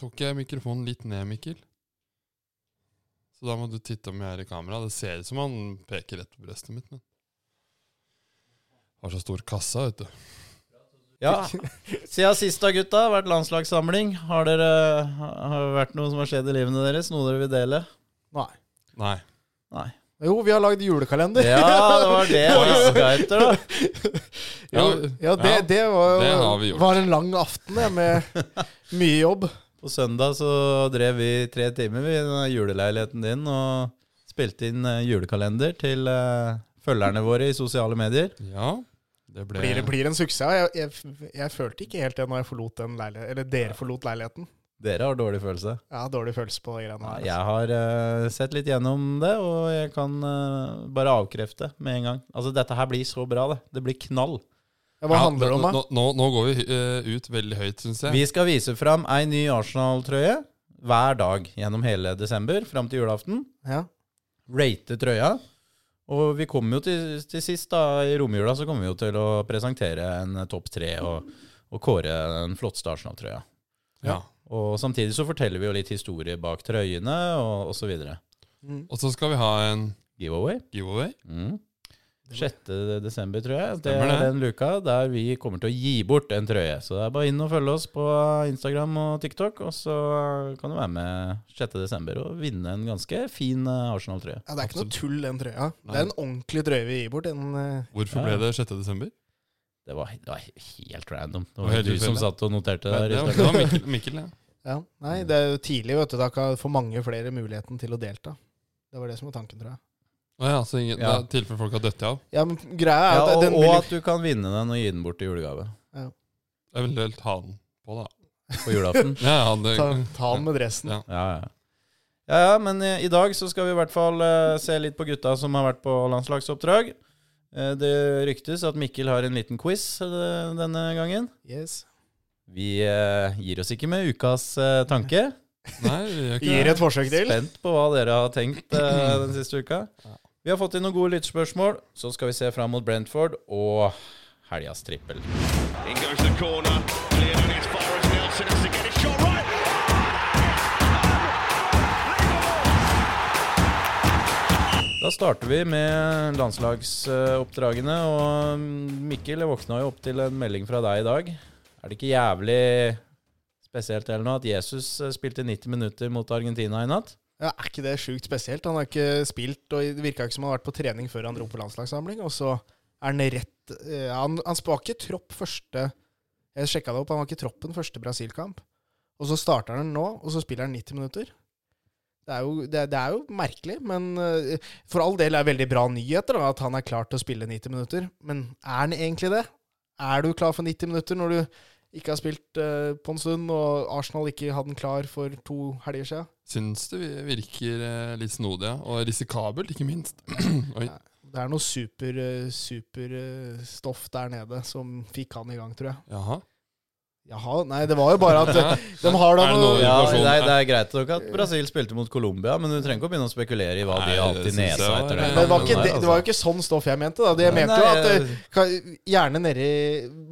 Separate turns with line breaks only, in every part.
tok jeg mikrofonen litt ned, Mikkel. Så da må du titte om jeg er i kamera. Det ser ut som han peker rett på brøstet mitt, men Har så stor kassa, vet du.
Ja, Siden sist da, gutta, har vært landslagssamling. Har, dere, har det vært noe som har skjedd i livene deres? Noe dere vil dele?
Nei.
Nei.
Nei.
Jo, vi har lagd julekalender.
Ja, det var det jeg fiska etter, da.
Ja,
Ja, det,
ja.
det, var,
det har vi gjort.
var en lang aften det, med mye jobb.
På søndag så drev vi tre timer vi, i den juleleiligheten din og spilte inn eh, julekalender til eh, følgerne våre i sosiale medier.
ja. Det ble
Blir, det blir en suksess. Jeg, jeg, jeg følte ikke helt det når jeg forlot den leiligheten, eller dere forlot leiligheten.
Dere har dårlig følelse.
Jeg har dårlig følelse på de greiene
Ja,
her.
jeg har eh, sett litt gjennom det, og jeg kan eh, bare avkrefte med en gang. Altså, dette her blir så bra, det. Det blir knall.
Ja, Hva handler det om, da?
Nå, nå, nå går vi eh, ut veldig høyt, syns jeg.
Vi skal vise fram ei ny Arsenal-trøye hver dag gjennom hele desember fram til julaften.
Ja.
Rate trøya. Og vi kommer jo til, til sist, da, i romjula, så kommer vi jo til å presentere en topp tre og, og kåre den flotteste Arsenal-trøya.
Ja.
Og samtidig så forteller vi jo litt historie bak trøyene og osv.
Mm.
Og så skal vi ha en
Giveaway.
giveaway.
Mm. 6. desember, tror jeg. Det
Stemmer
er
det.
den luka der vi kommer til å gi bort en trøye. Så det er bare inn og følge oss på Instagram og TikTok, og så kan du være med 6. desember og vinne en ganske fin eh, Arsenal-trøye.
Ja, det er ikke
Absolutt.
noe tull, den trøya. Det
Nei.
er en ordentlig trøye vi gir bort. En, eh,
Hvorfor
Ja.
ble det 6. desember?
Det, var- det var helt random. Det
Og
var
helt
du som
tilfeldig.
satt og noterte
Nei,
der.
det,
i
var,
starten.
det var Mikkel, Mikkel ja.
ja. Nei,
Mm.
det er jo tidlig, vet du. Da kan- får mange flere muligheten til å delta. Det var det som var tanken, tror jeg.
Å ja, så ingen,
Ja.
da- tilfelle folk har dødd av.
Ja, men greia er
Ja,
at
og,
den
og
vil jo
at du kan vinne den og gi den bort i julegave
Eventuelt ha den på, da.
på julaften.
Ja, ja, det,
ta, ta den med dressen.
Ja.
Ja, ja. Ja, ja, men eh, i dag så skal vi i hvert fall eh, se litt på gutta som har vært på landslagsoppdrag. Eh, det ryktes at Mikkel har en liten quiz eh, denne gangen.
Yes.
Vi eh, gir oss ikke med ukas eh, tanke.
nei, vi gjør ikke
Gir
det.
et forsøk til.
Spent på hva dere har tenkt eh, den siste uka.
Ja.
Vi har fått inn noen gode lyttspørsmål. Så skal vi se fram mot Brentford og helgas trippel.
In goes the corner. Cleared on as far as Nelson has to get a shot right.
Da starter vi med landslagsoppdragene. Og mm, Mikkel, jeg våkna jo opp til en melding fra deg i dag. Er det ikke jævlig spesielt eller noe at Jesus eh, spilte 90 minutter mot Argentina i natt?
Ja, Er ikke det sjukt spesielt? Han har ikke spilt, og det virka ikke som han har vært på trening før han dro på landslagssamling. Og så er han rett eh, Han, han var ikke tropp første Jeg sjekka det opp, han var ikke troppen første Brasil-kamp. Og så starter han nå, og så spiller han 90 minutter. Det er jo, det, det er jo merkelig, men eh, for all del er det veldig bra nyheter da, at han er klar til å spille 90 minutter. Men er han egentlig det? Er du klar for 90 minutter når du ikke har spilt eh, på en stund, og Arsenal ikke hadde den klar for to helger siden?
Syns det vi- virker eh, litt snodig, ja. Og risikabelt, ikke minst. Oi.
Det er noe super, eh, super eh, stoff der nede som fikk han i gang, tror jeg.
Jaha.
Jaha, nei, det var jo bare at eh,
Ja.
de har da
Er det
noe
noe-
Ja,
Situasjonen
det, er-
er-
det er greit nok at Brasil spilte mot Colombia, men du trenger ikke å begynne å spekulere i hva
Nei,
de har hatt i
det synes jeg
nesa
var-
etter
Nei,
Men det var,
nei,
ikke,
nei,
det, det var jo ikke sånn stoff jeg mente, da. Det jeg
Nei,
mente jo
nei,
at eh, ka- Gjerne nede i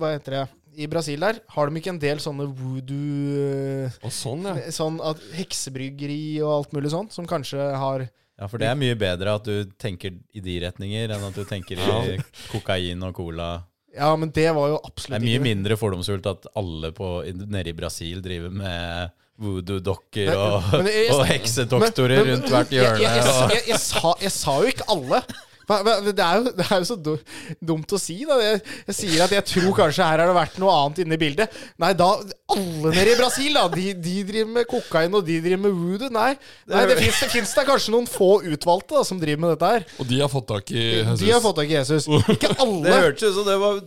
Hva heter det? I Brasil der har de ikke en del sånne voodoo eh,
Og sånn, ja.
Sånn at heksebryggeri og alt mulig sånt, som kanskje har
Ja, for det er mye bedre at du tenker i de retninger enn at du tenker i
Ja.
kokain og cola.
Ja, men det var jo
Det
absolutt
er mye
ikke det.
mindre fordomsfullt at alle på, i- nede i Brasil driver med voodoo-dokker
Men-
og,
men jeg-
og heksedoktorer
Men- men-
rundt hvert hjørne.
Jeg, jeg, jeg,
og-
jeg, jeg, sa, jeg sa jo ikke alle. Hva- hva- Det er, jo, det er jo så du- dumt å si. Da. Jeg, jeg sier at jeg tror kanskje her har det vært noe annet inne i bildet. Nei, da Alle nede i Brasil, da. De, de driver med kokain, og de driver med voodoo. Nei, nei det fins det, finnes da kanskje noen få utvalgte da, som driver med dette her.
Og de har fått tak i Jesus.
De har fått tak i Jesus. Ikke
Oh. det
alle.
hørtes ut som det var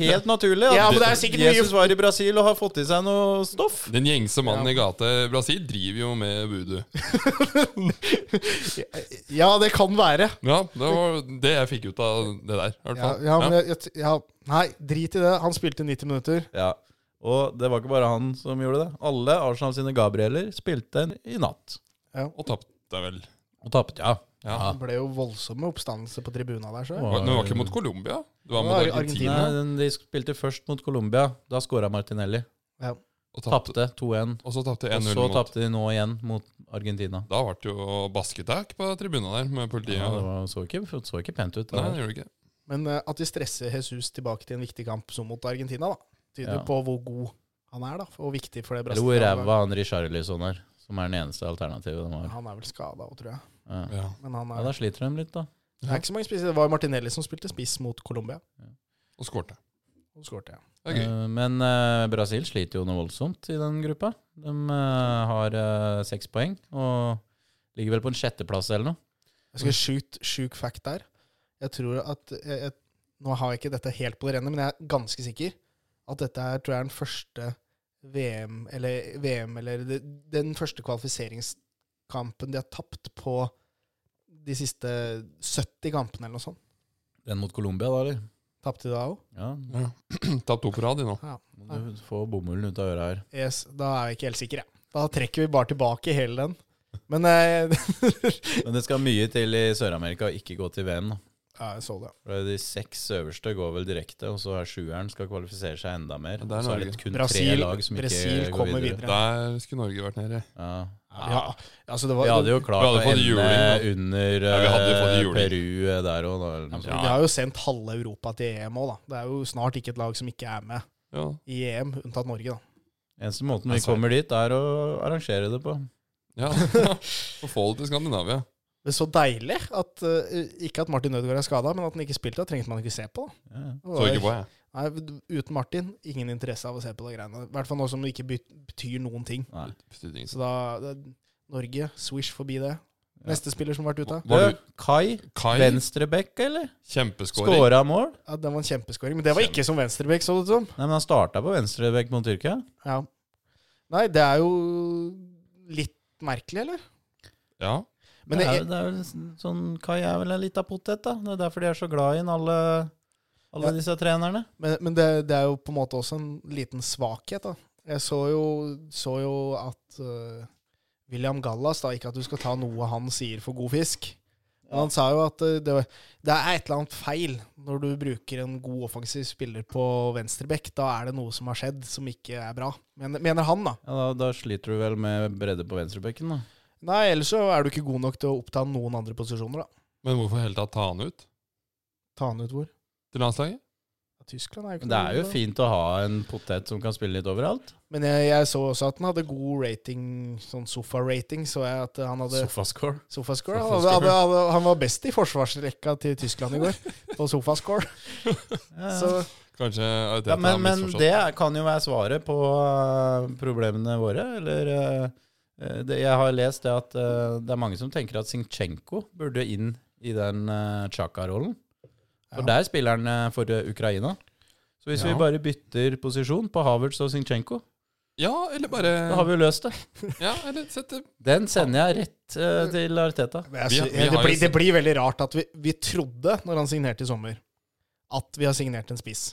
helt naturlig. at
Ja, men det er sikkert mye-
Jesus var i Brasil og har fått i seg noe stoff.
Den gjengse mannen i gata i Brasil driver jo med voodoo.
Ja, det kan være.
Ja, det var det jeg fikk ut av det der. I hvert
Ja,
fall.
ja, men jeg, jeg, ja. Nei, drit i det. Han spilte 90 minutter.
Ja. Og det var ikke bare han som gjorde det. Alle Arsenal sine Gabrieler spilte i natt.
Og tapte vel.
Og tapte, ja.
Ja.
Ja.
Det ble jo voldsomme oppstandelser på tribuna der. Så.
Men det var ikke mot Colombia? Det var
Det
mot
var
Argentina?
Nei, de spilte først mot Colombia. Da scora Martinelli.
Ja.
Og tapte.
Tapte 2-1.
Og så tapte
Og
1-0
så
mot
tapte de nå igjen mot Argentina.
Da ble det jo basketak på tribunen der med politiet.
Ja, det var, så, ikke, så ikke pent ut.
Nei,
Da.
det gjorde det ikke.
Men eh, at de stresser Jesus tilbake til en viktig kamp som mot Argentina, da,
Ja.
tyder på hvor god han er, da, og hvor viktig for det
Eller hvor
brasilianske
ræva han Richarlison er, som er den eneste alternativet de har.
Han er vel skada òg, tror jeg.
Ja.
Ja.
Men han
ja,
er,
da sliter de litt, da.
det er ikke så mange spisser. Det var Martinelli som spilte spiss mot Colombia,
Og skårte.
og skårte.
Det er gøy.
Eh, Men eh, Brasil sliter jo noe voldsomt i den gruppa. De eh, har eh, seks poeng og ligger vel på en sjetteplass eller noe. Mm.
Jeg skal sjukt sjuk fact der. Jeg tror at jeg, jeg, Nå har jeg ikke dette helt på det rene, men jeg er ganske sikker at dette er, tror jeg er den første VM eller, VM, eller det- den første kvalifiseringskampen de har tapt på de siste 70 kampene, eller noe sånt.
Den mot Colombia, da, eller?
Tapte de da òg?
Ja,
Ja. Tapt to på rad de nå.
må du få bomullen ut av øra her.
Yes, da er jeg ikke helt sikker, jeg. Da trekker vi bare tilbake hele den. Men eh,
Men det skal mye til i Sør-Amerika å ikke gå til VM, da.
ja, jeg så det.
For de seks øverste går vel direkte, og så er sjueren skal kvalifisere seg enda mer.
Ja, det er
så er
Norge.
det kun tre
Brasil,
lag som ikke
Brasil
går
kommer
videre.
videre.
Der skulle Norge vært nede.
Ja.
Ja, altså det var,
Vi hadde jo klart
Vi hadde
å
fått
ende
juling,
under
Ja, vi hadde jo fått
eh,
juling.
Peru eh, der òg, da. eller noe
De
sånt.
har jo sendt halve Europa til EM òg, da. Det er jo snart ikke et lag som ikke er med
Ja.
i EM, unntatt Norge, da.
Eneste måten vi
Altså-
kommer dit, er å arrangere det på.
ja. Og få det til Skandinavia.
Det er så deilig at eh, Ikke at Martin Ødegaard er skada, men at han ikke spilte, da trengte man ikke se på, da.
Ja.
Det
Så
var-
ikke på, jeg.
Nei, uten Martin, ingen interesse av å se på de greiene. I hvert fall nå som det ikke bet- betyr noen ting.
Nei.
Betydde ingenting.
Så da det, Norge, swish forbi det. Neste spiller som har vært ute.
Var du
Du, Kai,
Kai?
venstrebekk, eller?
Kjempeskåring.
Skåra mål?
Ja, det var en kjempeskåring, men det var ikke som venstrebekk, så det ut som.
Nei, men han starta på venstrebekk mot Tyrkia.
Ja. Nei, det er jo litt merkelig, eller?
Ja.
Men
det,
det
er, det er vel s- sånn, Kai er vel en lita potet, da. Det er derfor de er så glad i han, alle, alle
Ja.
disse trenerne.
Men, men det, det er jo på en måte også en liten svakhet, da. Jeg så jo, så jo at eh, William Gallas, da, ikke at du skal ta noe han sier for god fisk, men han sa jo at eh, det, var- det er et eller annet feil når du bruker en god offensiv spiller på venstrebekk. Da er det noe som har skjedd som ikke er bra, mener, mener han, da.
Ja, da, da sliter du vel med bredde på venstrebekken, da.
Nei, ellers så er du ikke god nok til å oppta noen andre posisjoner, da.
Men hvorfor hele tatt ta han ut
Ta han ut hvor?
til landslaget?
Ja, Tyskland er jo ikke
Men det er jo
noe-
fint å ha en potet som kan spille litt overalt.
Men jeg, jeg så også at han hadde god rating, sånn sofa-rating, så jeg at han hadde
Sofascore.
Sofascore. Han,
Sofascore.
hadde, hadde, han var best i forsvarsrekka til Tyskland i går, på Sofascore.
Ja,
Så,
ja.
Kanskje Arteta
Ja, men,
har
men
misforstått.
det er- kan jo være svaret på eh, problemene våre. Eller eh, det, Jeg har lest det at eh, det er mange som tenker at Sinchenko burde inn i den uh, Chaka-rollen. For
Ja.
der spiller han eh, for eh, Ukraina. Så hvis
Ja.
vi bare bytter posisjon på Havertz og Sinchenko,
Ja, eller bare
da har vi jo løst det.
Ja, eller sette
Den sender jeg rett eh, til Arteta.
men jeg,
Vi- vi
sy-
har
det,
jo
blir,
sett-
det blir veldig rart at vi, vi trodde, når han signerte i sommer, at vi har signert en spiss.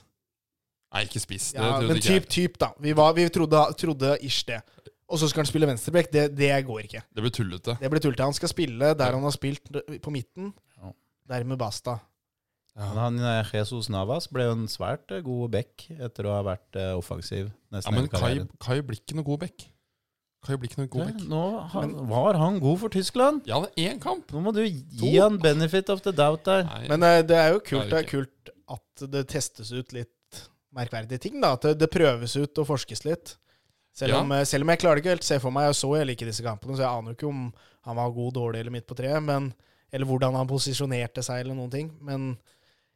Nei, ikke spiss. Det
Ja,
trodde
men
ikke
typ,
jeg.
typ, da. Vi, var, vi trodde, trodde ish det. Og så skal han spille venstreback. Det, det går ikke.
Det ble tullete.
Det blir tullete. Han skal spille der han har spilt, på midten.
Ja.
Dermed basta.
Men han, eh, Jesus Navas ble jo en svært eh, god back etter å ha vært eh, offensiv
Ja,
nesten
men
hele
Kai,
karrieren.
Kai blir ikke noe god back. Kai blir ikke noe god back.
Det- Nå han, var han god for Tyskland.
Ja, det er én kamp.
Nå må du gi han benefit of the doubt der.
Nei,
Men eh, det er jo kult,
Klarer
det er kult at det testes ut litt merkverdige ting. da, At det, det prøves ut og forskes litt. Selv,
Ja.
om, eh, selv om jeg klarer det ikke helt se for meg, jeg så jeg liker disse kampene, så jeg aner jo ikke om han var god, dårlig eller midt på treet, men, eller hvordan han posisjonerte seg eller noen ting. Men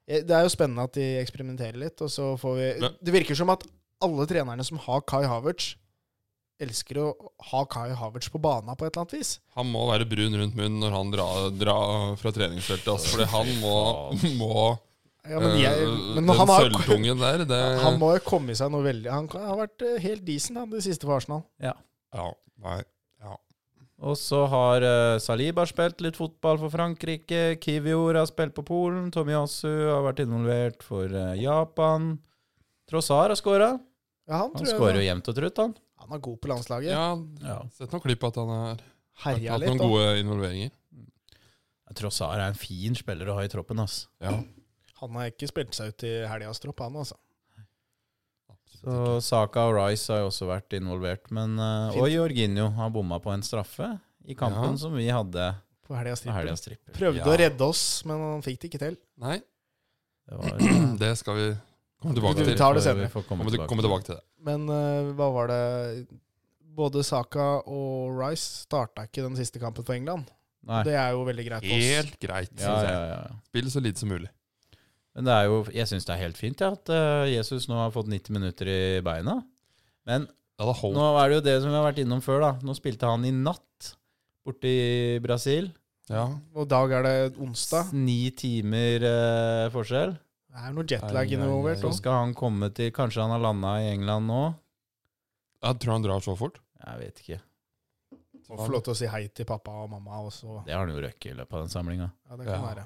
eh, det er jo spennende at de eksperimenterer litt, og så får vi
Men-
Det virker som at alle trenerne som har Kai Havertz, elsker å ha Kai Havertz på bana på et eller annet vis.
han må være brun rundt munnen når han drar dra fra treningsfeltet. Altså, fordi han må, må
Ja, men jeg,
øh,
men
Den
han har,
sølvtungen der, det
Han må jo komme i seg noe veldig Han kan- har vært eh, helt decent han, det siste for Arsenal.
Ja, nei.
Og så har eh, Saliba spilt litt fotball for Frankrike. Kivior har spilt på Polen. Tomiyasu har vært involvert for eh, Japan. Trossar har skåra.
Ja, han,
Han
tror jeg-
skårer jo jevnt og trutt, han.
han er god på landslaget.
Ja,
Ja.
sett noen klipp at han har
Herja
hatt
litt.
noen
da.
gode involveringer.
Trossar er en fin spiller å ha i troppen, ass.
Ja,
Han har ikke spilt seg ut i helgas tropp, han altså.
Så Saka og Rice har jo også vært involvert. Men, eh,
Fint.
og Jorginho har bomma på en straffe i kampen
Ja.
som vi hadde
på helga
på
stripper.
helgas stripper.
Prøvde
Ja.
å redde oss, men han fikk det ikke til.
Nei,
Det var, eh,
det skal vi komme tilbake
Du
til.
tar det
får-
senere.
Vi får komme,
Komme, til,
tilbake.
komme tilbake til det.
Men eh, hva var det Både Saka og Rice starta ikke den siste kampen for England.
Nei.
Det er jo veldig greit for oss.
Helt greit,
Ja,
synes jeg.
ja, ja.
Spill så lite som mulig.
Men det er jo, jeg syns det er helt fint ja, at eh, Jesus nå har fått 90 minutter i beina. Men
Ja, det holdt.
nå er det jo det som vi har vært innom før. da. Nå spilte han i natt borte i Brasil.
Ja.
Og i dag er det onsdag.
Ni timer eh, forskjell.
Det er noe jetlag involvert.
Så
også.
skal han komme til Kanskje han har landa i England nå?
Jeg tror han drar så fort.
Jeg vet ikke.
Så Få lov til å si hei til pappa og mamma også.
Det har han jo røkket i løpet av den samlinga.
Ja, det kan
Ja.
være.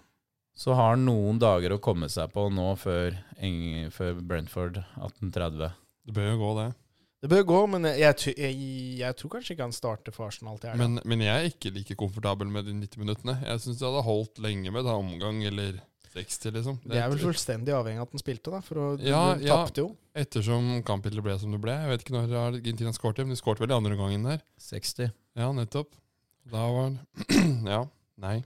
Så har han noen dager å komme seg på nå før, Eng før Brentford 1830.
Det bør jo gå, det.
Det bør gå, men jeg, ty- jeg, jeg tror kanskje ikke han starter for Arsenal til helga.
Men, men jeg er ikke like komfortabel med de 90 minuttene. Jeg syns det hadde holdt lenge med en omgang eller 60, liksom.
Det er vel fullstendig avhengig av at han spilte, da. For å,
Ja,
du
ja.
tapte jo.
Ettersom kampbildet ble som det ble. Jeg vet ikke når Argentina skårte, men de skårte vel i andre omgangen der.
60.
Ja, nettopp. Da var Ja. Nei.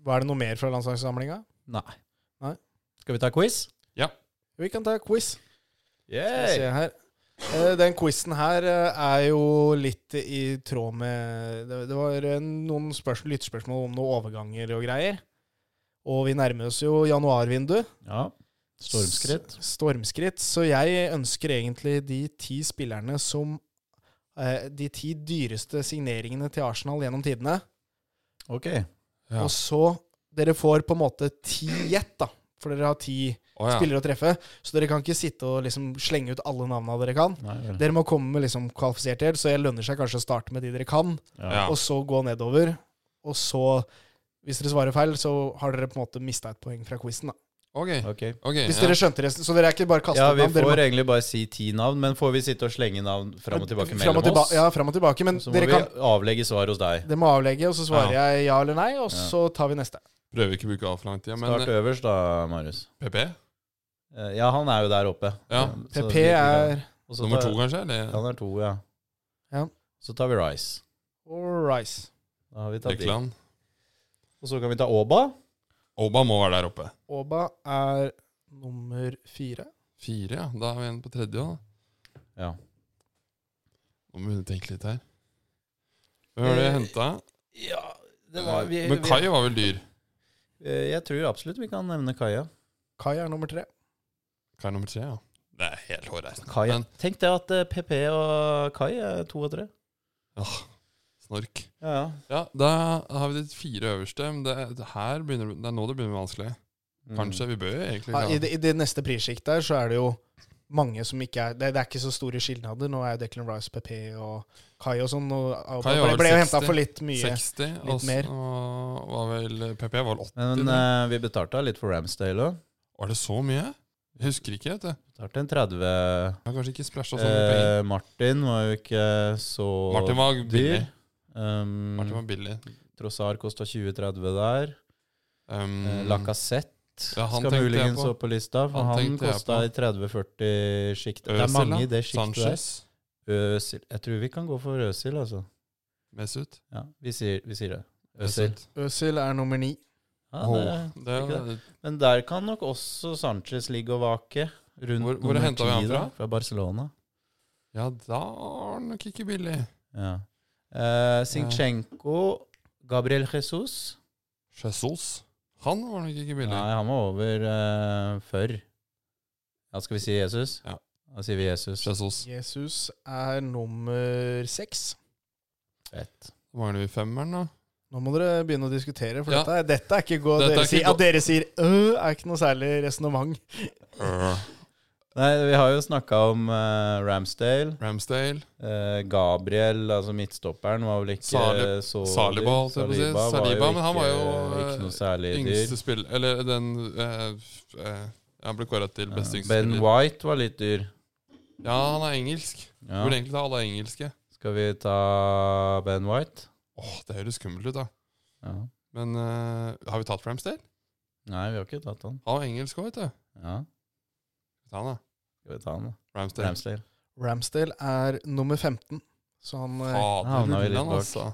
Var det noe mer fra landslagssamlinga?
Nei.
Nei.
Skal vi ta quiz?
Vi kan ta quiz. Skal vi
Yeah!
se her. Eh, Den quizen her eh, er jo litt i tråd med Det det var eh, noen spørs- lyttespørsmål om noen overganger og greier. Og vi nærmer oss jo januarvindu.
Ja. Stormskritt.
S- Stormskritt. Så jeg ønsker egentlig de ti spillerne som eh, De ti dyreste signeringene til Arsenal gjennom tidene.
Ok.
Ja.
Og så Dere får på en måte ti gjett, da. For dere har ti
Å ja.
spillere å treffe. Så dere kan ikke sitte og liksom slenge ut alle navnene dere kan.
Mm.
Nei vel.
Dere må komme med liksom kvalifisert del, så det lønner seg kanskje å starte med de dere kan,
Ja.
og så gå nedover. Og så, hvis dere svarer feil, så har dere på en måte mista et poeng fra quizen.
Ok.
Ok.
ok,
Hvis
ja.
dere skjønte resten, så dere er ikke bare kastet
Ja, vi
navn, dere
får egentlig bare si ti navn, men får vi sitte og slenge navn fram og tilbake
fram Eh, og
mellom
tilba-
oss?
Ja, fram og tilbake. Men
Så må
dere
vi
kan
avlegge svar hos deg.
Dere må avlegge, og så svarer jeg ja eller nei, og
Ja.
så tar vi neste.
Prøver ikke å bruke altfor lang tid. Men eh,
Start øverst da, Marius.
PP?
Eh, Ja, han er jo der oppe.
Ja.
Så
PP
vi-
er
Og så
Nummer
tar-
to, kanskje? Eller
Han er to, ja.
Ja.
Så tar vi Rice.
og Rice.
Da har vi tatt de.
Ekland?
Og så kan vi ta Åba.
Oba må være der oppe.
Oba er nummer fire.
Fire, ja. Da er vi igjen på tredje. da.
Ja.
Nå må vi tenke litt her. Hvem har
Eh,
dere henta?
ja det
Men Kai var vel dyr?
Eh, Jeg tror absolutt vi kan nevne Kaja.
Kai er nummer tre.
Kai nummer tre, ja. Det er helt hårreisende.
Kaja.
Men-
Tenk det at eh, PP og Kai er to og tre.
Snork.
Ja, ja.
Ja, da har vi de fire øverste. Men det, det, her begynner, det er nå det begynner å bli vanskelig.
Mm.
Kanskje vi bør egentlig
Ja,
ikke
i,
ha-
det, I det neste prissjikt der så er det jo mange som ikke er Det, det er ikke så store skilnader. Nå er jo Declan Rice, PP og Kai og sånn. Og, og
Kai var
ble,
vel
ble jo
60.
henta for litt mye.
60,
litt
og
mer.
så var vel PP var vel 80.
Men
tror jeg.
eh, vi betalte litt for Ramsdale òg.
Var det så mye? Jeg husker ikke, vet du.
Betalte en 30.
Jeg har kanskje ikke splæsja så mye penger.
Eh, Martin var jo ikke så
Martin var billig.
Eh, dyr. Um,
Martin var billig.
Trossar kosta 20-30 der.
Um,
Mm. Lacassette
Ja, han
skal
tenkte jeg
muligens
på.
opp på lista, for
Han
han,
tenkte jeg
kosta
på.
i 30-40 sjikt. Det er
Øsil,
mange i det sjiktet der.
Sanchez.
Øsil. Jeg tror vi kan gå for Øsil, altså.
Mesut.
Ja, vi sier, vi sier det. Øsil.
Øzil er nummer ni.
Ja,
Oh,
det,
det,
ikke men der kan nok også Sanchez ligge og vake. Rundt
Hvor- hvor
nummer
hentet vi
10
han fra?
da, Fra Barcelona.
ja, da er han nok ikke billig.
Ja. Eh, Sinchenko, Gabriel Jesus
Jesus. Han var nok ikke billig.
Nei, han var over eh, før. Ja, skal vi si Jesus?
Ja.
Da sier vi Jesus.
Jesus.
Jesus er nummer seks.
Fett.
Mangler vi femmeren, da?
Nå må dere begynne å diskutere, for
Ja.
dette, er- dette er ikke godt.
Dette er
Dere
ikke
sier,
gå-
at dere sier øh, er ikke noe særlig resonnement.
Nei, vi har jo snakka om eh, Ramsdale.
Ramsdale.
Eh, Gabriel, altså midtstopperen, var vel ikke
Salib-
så
Saliba, holdt jeg på å si.
Saliba, var
Saliba,
jo
men han var jo,
ikke,
eh,
ikke noe særlig dyr.
Yngste spill... Eller den eh, f- eh, Han ble kåra til beste
Ja.
yngste
Ben
spiller.
White var litt dyr.
Ja, han er engelsk.
Ja.
Burde egentlig ta alle engelske.
Skal vi ta Ben White?
Åh, det høres skummelt ut, da.
Ja.
Men eh, har vi tatt Ramsdale?
Nei, vi har ikke tatt han.
Han var engelsk òg, vet du.
Ja.
Ta han, da.
Skal vi ta han, da?
Ramsdale.
Ramsdale.
Ramsdale er nummer 15, så han eh,
Fader,
Havna vi litt
Ulland,
bak.
altså.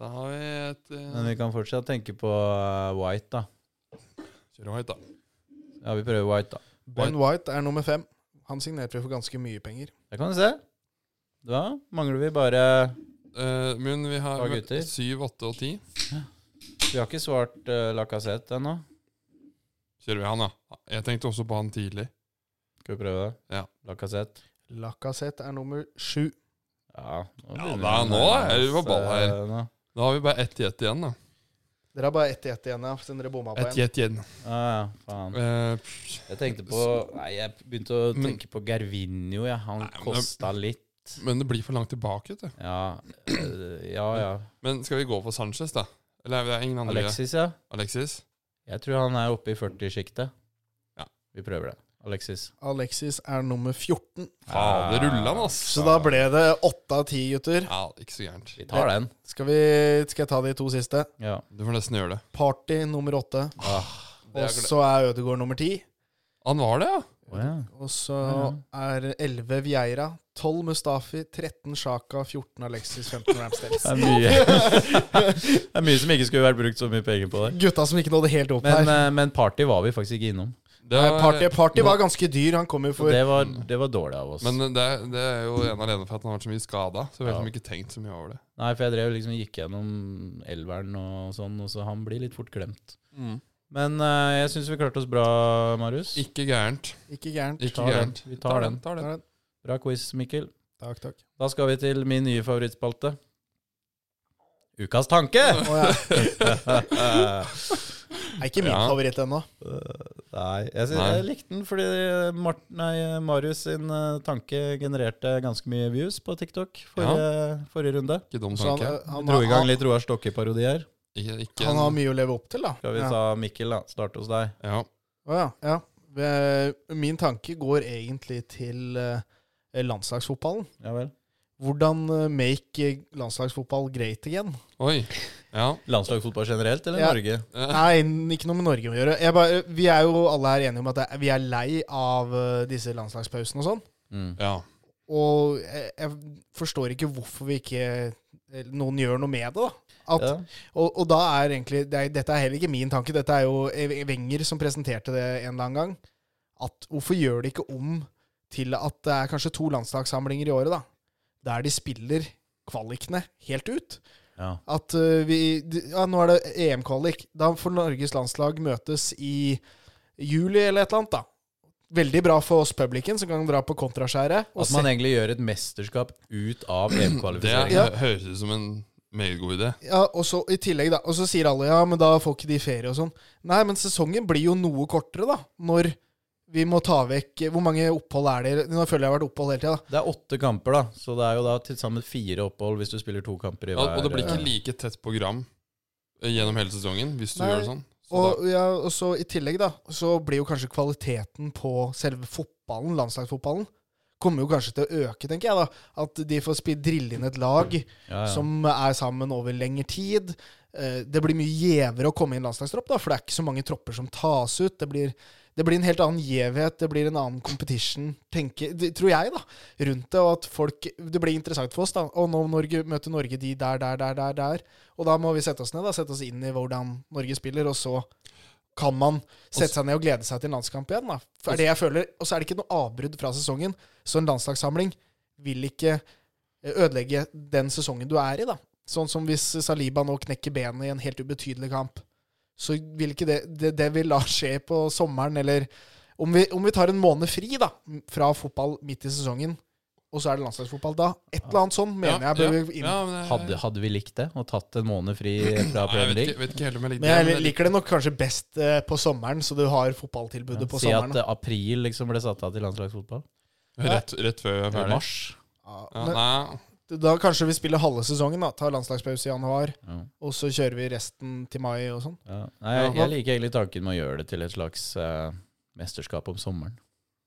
Da har vi et eh,
Men vi kan fortsatt tenke på eh, White, da.
Kjører White, da.
Ja, vi prøver White, da.
Ben White er nummer 5. Han signerte vi for ganske mye penger.
Det kan du se. Da mangler vi bare
Eh, men vi har
Da, gutter.
7, 8 og 10.
Vi har ikke svart uh, Lacassette ennå.
Kjører vi han, ja. Jeg tenkte også på han tidlig.
Skal vi prøve det?
Ja.
Lacassette.
Lacassette er nummer 7.
Ja, nå,
Ja,
begynner
da-
vi å
nå
nærme
er vi på
oss,
ball her.
eh, nå.
Da har vi bare ett jet igjen, da.
Dere har bare ett i ett igjen, ja, siden dere bomma på
Ett
en.
jet igjen.
Ja, ja, faen.
Eh, pff,
Jeg tenkte på Nei, jeg begynte å
Men-
tenke på Gervinho, ja. Han
Nei, men-
kosta litt.
men det blir for langt tilbake, vet du.
Ja, eh, ja, ja.
Men skal vi gå for Sanchez, da? Eller er det ingen andre?
Alexis, ja.
Alexis?
Jeg tror han er oppe i 40-sjiktet.
Ja.
Vi prøver det. Alexis.
Alexis er nummer 14.
Fader, altså. rullan, ass.
Så da ble det åtte av ti, gutter.
Ja, ikke så gærent.
Vi tar den.
Skal, vi, skal jeg ta de to siste?
Ja.
Du får nesten gjøre det.
Party nummer åtte.
det
Og
er glad-
så er Ødegaard nummer ti.
Han var det, ja?
Å, ja.
Og så er elleve Vieira. 12 Mustafi, 13 Sjaka, 14 Alexis, 15
Det
Ramsdale.
er mye Det er mye som ikke skulle vært brukt så mye penger på der.
Gutta som ikke nådde helt opp
Men,
her.
eh, men party var vi faktisk ikke innom.
Det
Nei,
er-
party, party var ganske dyr. Han kom jo for
Det var, det var dårlig av oss.
Men det, er- det er jo en alene for at han har vært så mye skada. Så vi har
Ja.
liksom ikke tenkt så mye over det.
Nei, for jeg drev liksom gikk gjennom elveren og sånn, og så han blir litt fort glemt.
Mm.
Men eh, jeg syns vi klarte oss bra, Marius.
Ikke gærent.
Ikke gærent.
Ikke
Tar den.
gærent.
Vi tar den.
Tar den.
Tar den.
Bra quiz, Mikkel.
Takk, takk.
Da skal vi til min nye favorittspalte. Ukas tanke!
Å, ja. Er ikke min
Ja.
favoritt ennå.
Nei, jeg, sy-
Nei.
jeg likte den fordi Mart, nei, Marius sin eh, tanke genererte ganske mye views på TikTok forrige, forrige runde.
Ikke dum
Så han, eh,
tanke.
han,
Dro i gang
han,
litt Roar Stokke-parodi her.
Ikke, ikke
han har
en,
mye å leve opp til, da.
Skal vi
Ja.
ta Mikkel, da? Starte hos deg.
ja.
Å ja, ja. Eh, Min tanke går egentlig til eh, landslagsfotballen.
Ja vel.
Hvordan eh, make eh, landslagsfotball great again?
Oi. Ja.
Landslagsfotball generelt, eller
Ja.
Norge?
Eh,
Nei, n- ikke noe med Norge å gjøre. Jeg bare, vi er jo alle her enige om at det- vi er lei av eh, disse landslagspausene og sånn.
Mm.
ja.
Og jeg, jeg forstår ikke hvorfor vi ikke eller noen gjør noe med det. da. At,
Ja.
og, og da er egentlig det er, Dette er heller ikke min tanke, dette er jo E- Wenger som presenterte det en eller annen gang. At hvorfor gjør de ikke om til at det er kanskje to landslagssamlinger i året, da? Der de spiller kvalikene helt ut.
Ja.
At eh, vi d- Ja, nå er det EM-kvalik. Da får Norges landslag møtes i juli eller et eller annet, da. Veldig bra for oss publikum som kan dra på kontraskjæret. og
At
se-
man egentlig gjør et mesterskap ut av
Det er,
EM-kvalifiseringen.
Ja.
høres ut som en meget god idé.
Ja, og så i tillegg da Og så sier alle ja, men da får ikke de ferie og sånn. Nei, men sesongen blir jo noe kortere, da. Når vi må ta vekk Hvor mange opphold er det? Nå føler jeg jeg har vært opphold hele tida, da.
Det er åtte kamper, da, så det er jo da til sammen fire opphold hvis du spiller to kamper i
Ja,
hver.
og det blir ikke
eh,
like tett program eh, gjennom hele sesongen hvis du
Nei.
gjør det sånn. Så da,
Og, ja, og så i tillegg, da, så blir jo kanskje kvaliteten på selve fotballen, landslagsfotballen, kommer jo kanskje til å øke, tenker jeg, da. At de får spi- drille inn et lag
ja, ja.
som er sammen over lengre tid. Eh, Det blir mye gjevere å komme i en landslagstropp, da, for det er ikke så mange tropper som tas ut. Det blir, det blir en helt annen gjevhet, det blir en annen competition, tenker, det, tror jeg, da, rundt det. Og at folk Det blir interessant for oss, da. Og nå Norge, møter Norge de der, der, der, der, der. Og da må vi sette oss ned, da. Sette oss inn i hvordan Norge spiller, og så kan man sette seg ned og glede seg til en landskamp igjen, da. For det er det jeg føler. Og så er det ikke noe avbrudd fra sesongen, så en landslagssamling vil ikke eh, ødelegge den sesongen du er i, da. Sånn som hvis Saliba nå knekker benet i en helt ubetydelig kamp. Så vil ikke det Det, det vil da skje på sommeren, eller om vi, om vi tar en måned fri, da, fra fotball midt i sesongen, og så er det landslagsfotball da. Et eller annet sånn mener jeg bør vi inn.
ja, men jeg-
hadde, hadde vi likt det, og tatt en måned fri fra
Nei, jeg
Premier
vet
League?
ikke, vet ikke helt om jeg likte
Men
det,
jeg liker det nok kanskje best eh, på sommeren, så du har fotballtilbudet på
si at
sommeren. da.
eh, april liksom ble satt av til landslagsfotball.
Rett, rett før jeg er
Eller
ferdig.
mars.
Ja,
Ja,
nei.
men da kanskje vi spiller halve sesongen, da. Tar landslagspause i januar,
Ja.
og så kjører vi resten til mai og sånn.
Ja. Nei, jeg, jeg liker egentlig tanken med å gjøre det til et slags eh, mesterskap om sommeren.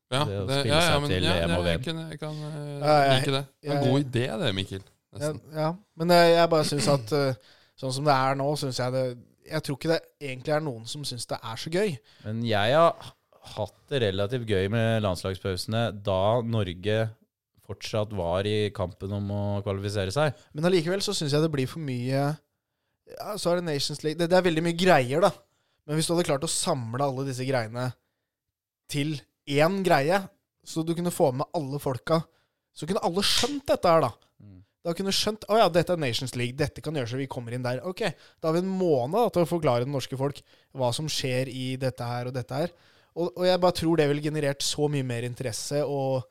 Ja,
Det å
det,
spille
ja, ja,
seg
men
til
ja,
EM
ja,
og
jeg
VM.
kan, jeg kan eh,
Ja, jeg-
like det. Det er en
jeg-
god idé, det, Mikkel.
Ja,
Nesten.
ja. Men jeg, jeg bare syns at eh, sånn som det er nå, syns jeg det Jeg tror ikke det egentlig er noen som syns det er så gøy.
Men jeg har hatt det relativt gøy med landslagspausene da Norge fortsatt var i kampen om å kvalifisere seg.
Men allikevel så syns jeg det blir for mye ja, Så er det Nations League det, det er veldig mye greier, da. Men hvis du hadde klart å samle alle disse greiene til én greie, så du kunne få med alle folka, så kunne alle skjønt dette her, da.
Mm.
Da kunne skjønt Å ja, dette er Nations League. Dette kan gjøre så vi kommer inn der. Ok, da har vi en måned da, til å forklare det norske folk hva som skjer i dette her og dette her. Og, og jeg bare tror det ville generert så mye mer interesse og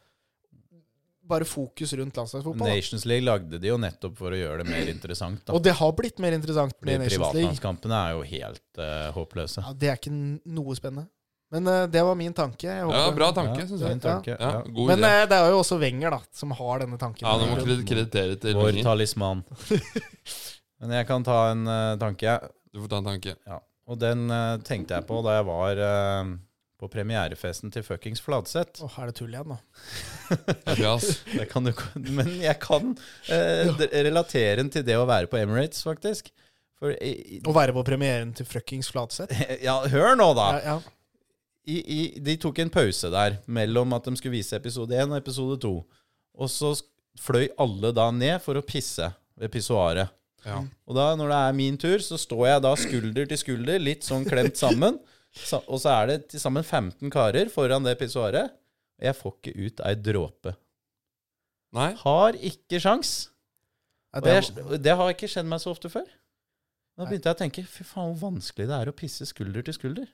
bare fokus rundt landslagsfotball. da.
Nations League lagde de jo nettopp for å gjøre det mer interessant. Da.
Og det har blitt mer interessant
Fordi
med Nations League.
privatlagskampene er jo helt eh, håpløse.
Ja, det er ikke n- noe spennende. Men eh, det var min tanke. Jeg
Ja,
håper-
bra tanke,
Ja,
synes
det er
jeg.
en tanke,
Ja,
ja.
god
Men
idé.
eh, det er jo også Wenger da, som har denne tanken.
Ja, du må kredi- kreditere til
Vår
Wenger.
talisman. Men jeg kan ta en eh, tanke, jeg.
Du får ta en tanke.
Ja. Og den eh, tenkte jeg på da jeg var eh, på premierefesten til fuckings Fladseth.
Åh, er det tull igjen nå?
Elias.
Det kan du, ikke- men jeg kan eh, d- relatere den til det å være på Emirates, faktisk. For i, i,
Å være på premieren til fuckings Flatseth?
Ja, hør nå, da!
Ja, ja.
i, i, de tok en pause der mellom at de skulle vise episode 1 og episode 2. Og så sk- fløy alle da ned for å pisse ved pissoaret.
Ja.
Og da, når det er min tur, så står jeg da skulder til skulder, litt sånn klemt sammen. Sa, og så er det til sammen 15 karer foran det pissoaret. Og jeg får ikke ut ei dråpe.
Nei?
Har ikke sjans.
Ja,
Og
det,
jeg, og det har ikke skjedd meg så ofte før. Da begynte jeg å tenke fy faen, hvor vanskelig det er å pisse skulder til skulder.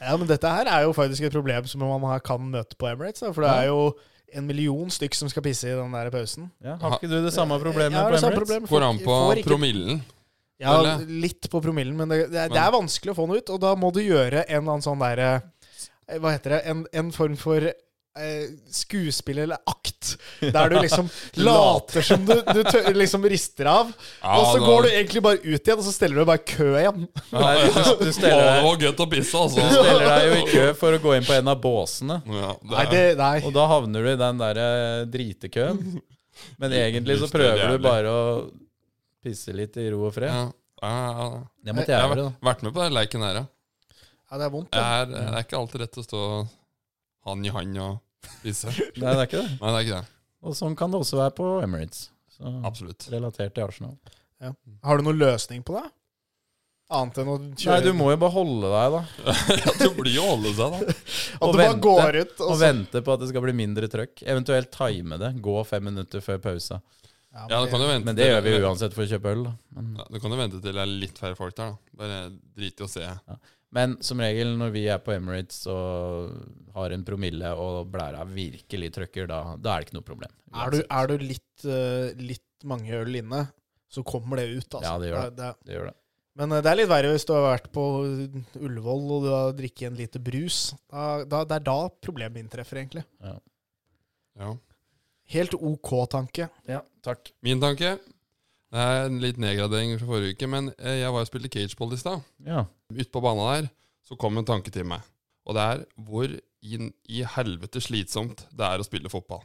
ja, men dette her er jo faktisk et problem som man her kan møte på Emirates. Da, for det er jo en million stykk som skal pisse i den der pausen.
Ja, har ikke du det samme problemet
Ja,
på
det er samme
Emirates?
problem.
Går
Folk
an på
får ikke-
promillen.
Ja,
eller?
litt på promillen, men det, det, er- det er vanskelig å få noe ut. Og da må du gjøre en eller annen sånn derre Hva heter det? En, en form for eh, skuespill eller akt. Der du liksom later som du, du tø liksom rister av,
Ja,
og så
da-
går du egentlig bare ut igjen, og så steller du bare i kø igjen.
Nei, du, du
Å,
steller
det
deg
var gøy å pisse,
Du
altså.
steller deg jo i kø for å gå inn på en av båsene.
Ja, det
Nei,
er-
det, nei.
Og da havner du i den der eh, dritekøen. Men egentlig så
Livsdel
prøver
jævlig.
du bare å pisse litt i ro og fred.
ja. Ja, ja, ja.
Det måtte
Jeg
jeg
har
gjøre, da.
vært- vært med på den leiken her, ja.
Ja, det er vondt.
Det
Ja.
er, det er ikke alltid rett å stå han i han og spise. Nei,
Nei, det er ikke det.
det er ikke det.
Og sånn kan det også være på Emirates. Så
Absolutt.
relatert til Arsenal.
Har du noen løsning på det? Annet enn å
Nei,
kjøre
du må jo bare holde deg, da.
Ja, det blir jo å holde seg, da.
At
og
du bare
vente.
går ut, og
Og
så
vente på at det skal bli mindre trøkk. Eventuelt time det. Gå fem minutter før pausa.
Ja,
Ja, du kan jo vente
Men det gjør vi
til-
uansett for å kjøpe øl, da. Men
Ja, du kan jo vente til det er litt færre folk der, da. Bare drit i å se.
Men som regel når vi er på Emirates og har en promille og blæra virkelig trøkker, da, da er det ikke noe problem.
er, du, er du litt, eh, litt mange øl inne, så kommer det ut, altså.
Ja, det gjør
det. det er-
Det gjør det.
Men eh, det er litt verre hvis du har vært på Ullevål og du har drikket en liter brus. Da, da, det er da problemet inntreffer, egentlig.
Ja.
Helt OK tanke.
Ja, takk.
Min tanke Det er en litt nedgradering fra forrige uke, men eh, jeg var og spilte cageball i stad.
Ja.
Ute på banen der så kom en tanke til meg. Og det er hvor inn i helvete slitsomt det er å spille fotball.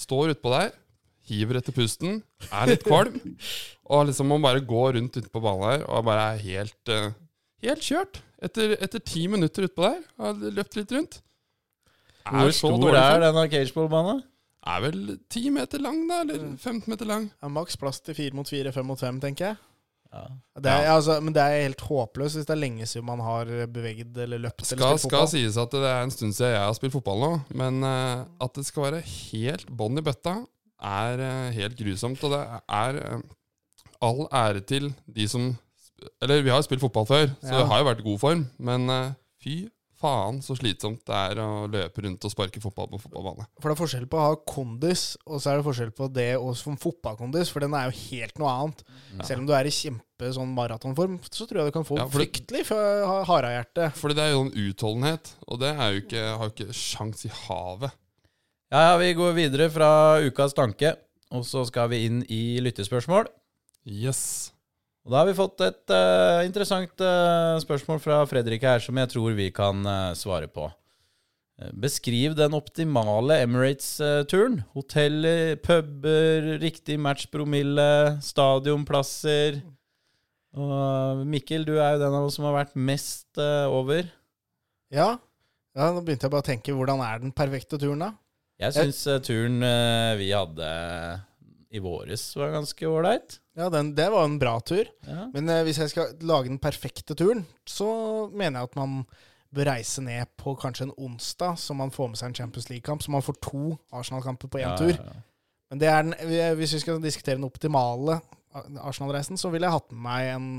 Står utpå der, hiver etter pusten, er litt kvalm, og liksom man bare går rundt ute på banen der og bare er helt eh, Helt kjørt. Etter, etter ti minutter utpå der, har jeg løpt litt rundt.
Hvor stor er denne cageballbanen?
Er vel ti meter lang, da? Eller 15 meter lang?
Ja, maks plass til fire mot fire, fem mot fem, tenker jeg.
Ja.
Det er, altså, men det er helt håpløst hvis det er lenge siden man har beveget eller løpt
skal,
eller
skal sies at det er en stund siden jeg har spilt fotball nå, men eh, at det skal være helt bånn i bøtta, er eh, helt grusomt. Og det er eh, all ære til de som Eller vi har jo spilt fotball før, så
Ja.
det har jo vært i god form, men eh, fy faen så slitsomt det er å løpe rundt og sparke fotball på fotballbane.
For det er forskjell på å ha kondis, og så er det forskjell på det og som fotballkondis, for den er jo helt noe annet. Selv om du er i kjempe sånn maratonform, så tror jeg du kan få
Ja, for det-
fryktelig fø- harehjerte.
Fordi det er jo en utholdenhet, og det er jo ikke, har jo ikke sjans i havet.
ja, ja, vi går videre fra ukas tanke, og så skal vi inn i lyttespørsmål.
Yes.
Og da har vi fått et eh, interessant eh, spørsmål fra Fredrik her, som jeg tror vi kan eh, svare på. Eh, Beskriv den optimale Emirates-turen. Hoteller, puber, riktig matchpromille, stadionplasser Og eh, Mikkel, du er jo den av oss som har vært mest eh, over.
Ja. ja, nå begynte jeg bare å tenke hvordan er den perfekte turen, da?
Jeg syns eh, turen eh, vi hadde i våres, var ganske ålreit.
Ja, den, Det var en bra tur.
Ja.
Men eh, hvis jeg skal lage den perfekte turen, så mener jeg at man bør reise ned på kanskje en onsdag, så man får med seg en Champions League-kamp. Så man får to Arsenal-kamper på én
Ja,
tur.
ja, ja.
Men det er den, hvis vi skal diskutere den optimale Arsenal-reisen, så ville jeg hatt med meg en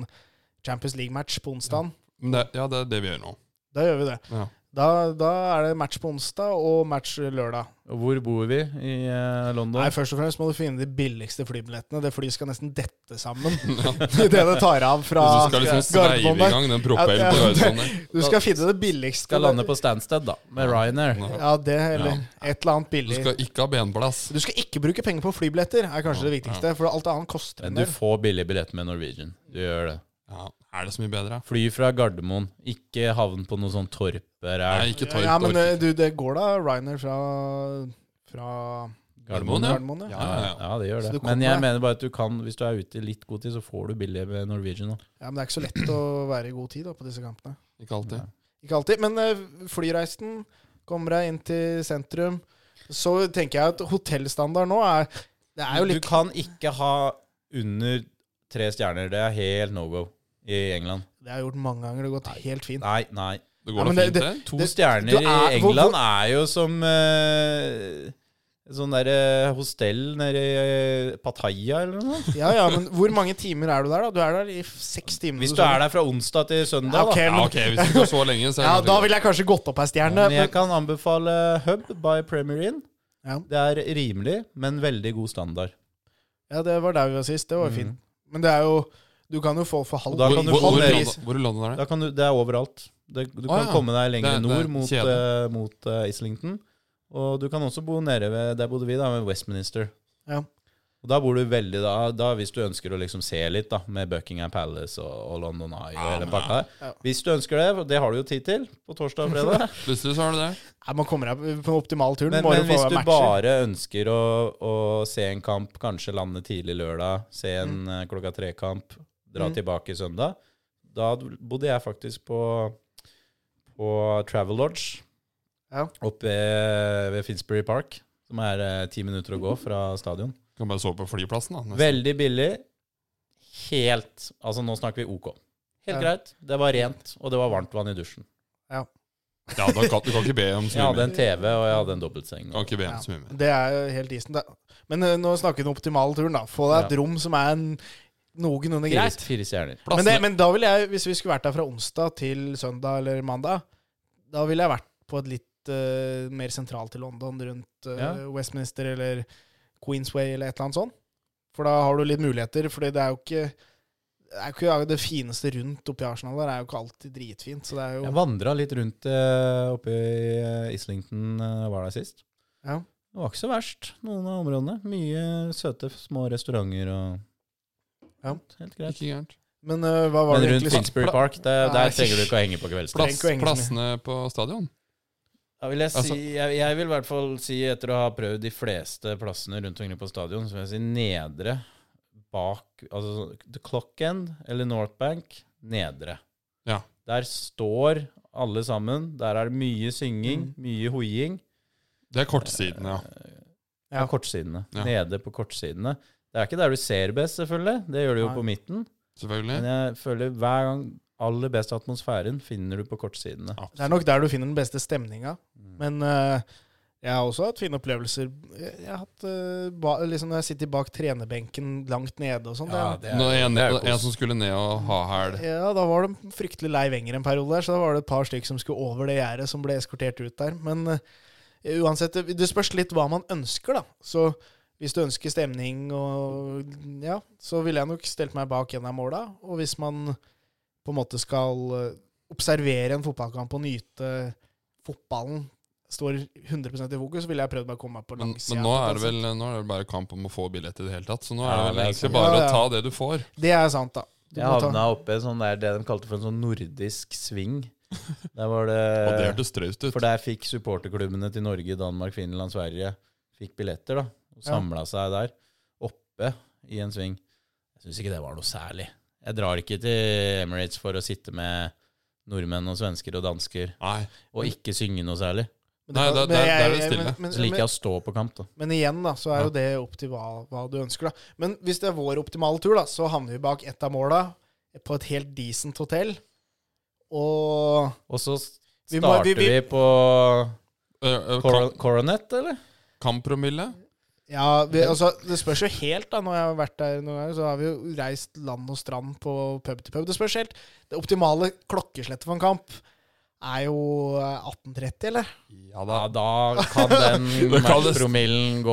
Champions League-match på onsdag.
Men det, ja, det er det vi gjør nå.
Da gjør vi det.
Ja.
Da, da er det match på onsdag og match lørdag.
Og hvor bor vi i eh, London?
Nei, Først og fremst må du finne de billigste flybillettene. Det flyet skal nesten dette sammen idet det tar av fra
Hvis du skal liksom sveive
Gardermoen
i
der.
gang den propellen
Ja,
på
ja.
Gardermoen der.
Du skal finne det billigste.
skal lande på Stansted, da, med Ryanair.
Ja, det, eller et eller annet
Du
billig.
skal ikke ha benplass.
Du skal ikke bruke penger på flybilletter, er kanskje det viktigste. For alt annet koster
Men
en
du
del.
får billig billett med Norwegian. Du gjør det.
Ja, er det så mye bedre?
Fly fra Gardermoen, ikke havn på noe sånn torper
Nei,
her.
ikke ta ut
Ja, men
orker.
eh, du, det går da Ryanair fra, fra
Gardermoen, ja.
Gardermoen, ja.
Ja, ja, ja.
det gjør det.
Så du kommer
Men jeg
deg.
mener bare at du kan, hvis du er ute i litt god tid, så får du billig med Norwegian. Da.
ja. Men det er ikke så lett å være i god tid da, på disse kampene.
Ikke alltid.
Ikke alltid. Men eh, flyreisen kommer deg inn til sentrum. Så tenker jeg at hotellstandard nå er Det er jo
Du
litt
kan ikke ha under tre stjerner. Det er helt no go i England.
Det har jeg gjort mange ganger. Det har gått helt fint.
Nei, nei.
Det
Ja,
går
men
da
det-
fint, det.
To
Det-
stjerner
du er-
i
hvor-
England er jo som eh, sånn derre hostell nede i eh, Pattaya eller noe. sånt.
Ja, ja, men Hvor mange timer er du der, da? Du er der i f- seks timer.
Mm.
Hvis du er der fra onsdag til søndag,
Ja, ok,
da.
Ja, ok, hvis det går så lenge, så er
Ja,
det
da
kanskje
ville jeg kanskje gått opp ei stjerne.
Men jeg kan anbefale Hub by Premier Inn.
Ja.
Det er rimelig, men veldig god standard.
Ja, det var der vi var sist. Det var jo fint. Men det er jo Du kan jo få for
Mhm.
halv
Og da
Hvor-
kan du
hvor-
få
hvor i
ned-
London- Hvor i London er det?
Da kan du, det er overalt. Det, du
Å,
kan
ja.
komme deg lenger
Det er- det er
nord mot,
kjede.
eh, mot eh, Islington. Og du kan også bo nede ved Der bodde vi, da, ved Westminster.
Ja.
Og da bor du veldig da, da hvis du ønsker å liksom se litt, da, med Buckingham Palace og, og London Eye og hele pakka der.
Ja.
Hvis du ønsker det, for det har du jo tid til på torsdag og fredag.
Plutselig så er det det.
Nei, man kommer deg på optimal tur.
Men,
må
men
få
hvis du
matcher.
bare ønsker å, å se en kamp, kanskje lande tidlig lørdag, se en eh, klokka tre-kamp, dra
Mm.
tilbake søndag Da bodde jeg faktisk på, på Travel Lodge
Ja.
oppe ved, ved Finsbury Park, som er eh, ti minutter å gå fra stadion.
Kan bare sove på flyplassen, da. nesten.
Veldig billig. Helt Altså, nå snakker vi OK. Helt
Ja.
greit. Det var rent, og det var varmt vann i dusjen.
Ja, da kan, du kan ikke be om så
Jeg
mye.
hadde
mer.
en TV, og jeg hadde en dobbeltseng.
Du Kan ikke be om
Ja.
så mye mer.
Det er jo helt isen. da. Men eh, nå snakker vi om optimal turen, da. Få deg et
Ja.
rom som er en, noenlunde
Fire,
greit.
fire stjerner.
Men, det,
Plassene,
men da ville jeg, hvis vi skulle vært der fra onsdag til søndag eller mandag, da ville jeg vært på et litt eh, mer sentralt i London, rundt eh,
Ja.
Westminster eller Queensway eller et eller annet sånt. For da har du litt muligheter, for det er jo ikke det, er jo ikke det fineste rundt oppi Arsenal der er jo ikke alltid dritfint. Så det er jo
Jeg vandra litt rundt eh, oppe i eh, Islington eh, var der sist.
Ja.
Det var ikke så verst, noen av områdene. Mye søte små restauranter og
Ja.
Helt greit.
ikke gærent.
Men øh, hva var
Men
det
rundt
egentlig?
Finsbury
Pla-
Park, der,
Nei.
der trenger du ikke å henge på kveldstid.
Plass,
Trenger ikke å henge så
plassene på stadion.
Da vil jeg, si,
Altså-
jeg, jeg vil i hvert fall si, etter å ha prøvd de fleste plassene rundt omkring på stadion, så vil jeg si nedre bak Altså The Clock End eller North Bank, nedre.
Ja.
Der står alle sammen. Der er det mye synging,
Mm.
mye hoiing.
Det er kortsiden, ja.
Ja.
Ja.
kortsidene.
Ja.
Nede på kortsidene. Det er ikke der du ser best, selvfølgelig. Det gjør du jo
Nei.
på midten. Men
Selvfølgelig.
jeg føler hver gang aller best atmosfæren finner du på kortsidene.
Absolutt.
Det er nok der du finner den beste stemninga.
Mm.
Men øh, jeg har også hatt fine opplevelser. Jeg jeg har hatt, øh, ba, liksom Når jeg sitter bak trenerbenken langt nede og sånn. det er-
Nå er en,
det er jo
en
kos.
som skulle ned og ha hæl.
Ja, da var det fryktelig lei venger en periode der, så da var det et par stykker som skulle over det gjerdet, som ble eskortert ut der. Men eh, uansett, eh, det- det spørs litt hva man ønsker, da. Så hvis du ønsker stemning og Ja, så ville jeg nok stelt meg bak en av måla. Og hvis man på en måte skal eh, observere en fotballkamp og nyte fotballen, står 100 i fokus, så ville jeg prøvd meg å komme meg på
Men,
langsida.
men nå er det vel nå er det bare kamp om å få billett i det hele tatt, så nå er det
Ja,
vel
det er
egentlig
sant.
bare
Ja, ja.
å ta det du får.
Det er sant, da. Du
Jeg
må ta-
havna oppe i sånn der, det de kalte for en sånn nordisk sving. Der var
Eh,
Og det
det
hørtes straust ut.
For der fikk supporterklubbene til Norge, Danmark, Finland, Sverige fikk billetter, da. Og
Ja.
samla seg der, oppe i en sving. Jeg syns ikke det var noe særlig. Jeg drar ikke til Emirates for å sitte med nordmenn og svensker og dansker
Nei.
og ikke synge noe særlig.
Men
Nei,
kan-
der-
men
der-
jeg-
der er det
jeg-
stille.
men- men-
Så liker jeg å stå på kamp, da.
Men igjen da, så er jo det opp til hva, hva du ønsker. da. Men hvis det er vår optimale tur, da, så havner vi bak ett av måla på et helt decent hotell. Og
Og så
Vi
starter vi,
må- vi- vi-
på
Eh, eh,
Coro-
kam-
Coronet, eller?
Kampromille?
ja, vi, altså, Det spørs jo helt, da. Når jeg har vært der noen ganger, så har vi jo reist land og strand på pub til pub. Det spørs helt. Det optimale klokkeslettet for en kamp er jo eh, 18.30, eller?
Ja da.
Ja, da kan den
Da kan det-
matchpromillen gå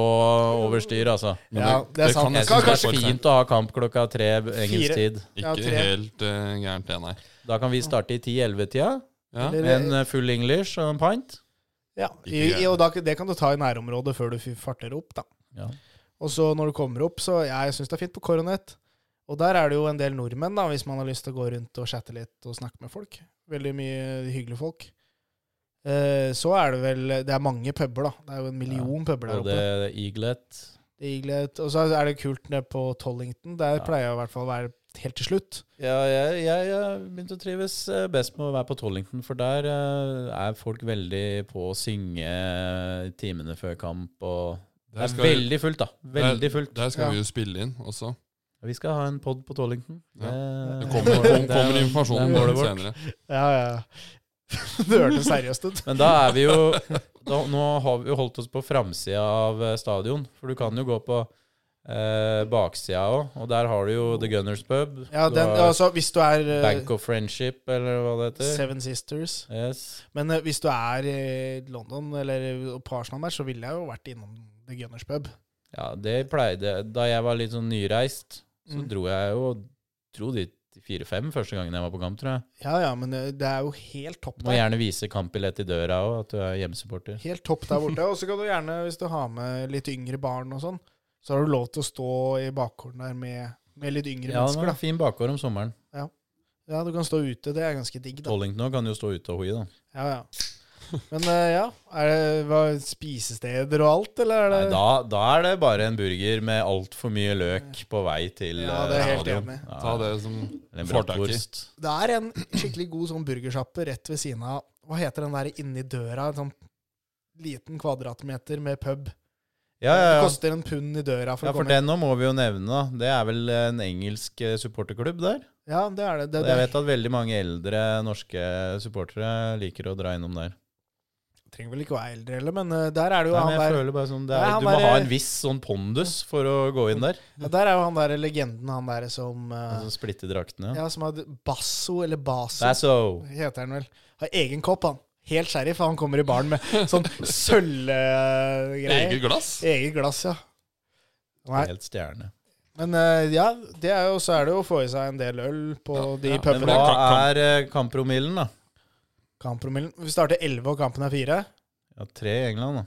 over styr, altså.
Men
Ja, det er sant.
kan
Jeg
nesten
syns det
være
er
for sent.
fint å ha kamp klokka tre engelsk
Fire.
tid.
Ja,
Ikke
tre.
helt eh, gærent, det, nei.
Da kan vi starte i 10-11-tida
Ja.
Eller-
med en eh, full English og en pint.
Ja, i, i, og da, det kan du ta i nærområdet før du f- farter opp, da.
Ja.
Og så når du kommer opp, så ja, jeg syns det er fint på Coronet. Og der er det jo en del nordmenn, da, hvis man har lyst til å gå rundt og chatte litt og snakke med folk. Veldig mye hyggelige folk. Eh, så er det vel Det er mange puber, da. Det er jo en million puber der
Både
oppe.
Eaglet
Det er iglet. Og så er det kult nede på Tollington. Der
Ja.
pleier jeg i hvert fall å være helt til slutt.
Ja, jeg, jeg, jeg begynte å trives eh, best med å være på Tollington, for der eh, er folk veldig på å synge i timene før kamp. og Det er
skal vi-
veldig fullt, da. Veldig fullt.
Der skal
Ja.
vi jo spille inn også.
Vi skal ha en pod på Tollington.
Ja.
Det-
Det kommer, kom, kommer informasjon
det er
om
målet
det
vårt.
senere.
Ja, ja. det hørtes seriøst ut.
Men da er vi jo da, Nå har vi jo holdt oss på framsida av eh, stadion, for du kan jo gå på eh, baksida òg, og der har du jo The Gunners Pub.
Ja,
du
den,
har
altså, hvis du er eh,
Bank of Friendship, eller hva det heter.
Seven Sisters
Yes.
Men eh, hvis du er i London eller på Arsenal-match, så ville jeg jo vært innom The Gunners pub.
Ja, det pleide Da jeg var litt sånn nyreist, så
Mm.
dro jeg jo dro dit fire-fem første gangen jeg var på kamp, tror jeg.
Ja, ja, men eh, det er jo helt topp
Må
der.
gjerne vise kampbillett i døra òg, at du er hjemmesupporter.
Helt topp der borte. Og så kan du gjerne, hvis du har med litt yngre barn og sånn, så har du lov til å stå i bakgården der med, med litt yngre
Ja, det
mennesker,
var
da.
en fin bakgård om sommeren.
Ja, du kan stå ute. Det er ganske digg, da.
Tollington òg kan jo stå ute og hoi, da.
Ja, ja. Men eh, ja, er det hva, spisesteder og alt, eller er det
Nei, da, da er det bare en burger med altfor mye løk på vei til
Ja, det er
eh,
helt
stadion.
enig.
Ja,
Ta det som
eller en
fortak i.
bratwurst.
Det er en skikkelig god sånn burgersjappe rett ved siden av Hva heter den der inni døra? En sånn liten kvadratmeter med pub.
Ja, ja,
Det
ja.
koster en pund i døra for
ja,
å
for
komme
den
inn.
nå må vi jo nevne, da. Det er vel en engelsk eh, supporterklubb der?
Ja, det er det. det,
Jeg vet at veldig mange eldre norske supportere liker å dra innom der.
trenger vel ikke å være eldre heller, men eh, der er det jo
Nei, men jeg
han der
føler bare sånn det
Nei,
er,
han
Du må
bare-
ha en viss sånn pondus for å gå inn der.
ja, Der er jo han der legenden, han der som eh,
Altså Splitte draktene.
Ja, som hadde Basso, eller Basso,
Basso.
heter han vel. Har egen kopp, han. Helt sheriff, han kommer i baren med sånn sølvgreier.
eget glass.
Eget glass, ja. Nei,
Helt stjerne.
men eh, ja, det er jo, så er det jo å få i seg en del øl på
Ja,
de
ja.
Men
pubene.
hva
Kamp-
er eh, kamppromillen, da?
Kamppromillen Vi starter 11, og kampen er 4.
Ja, Tre i England, da.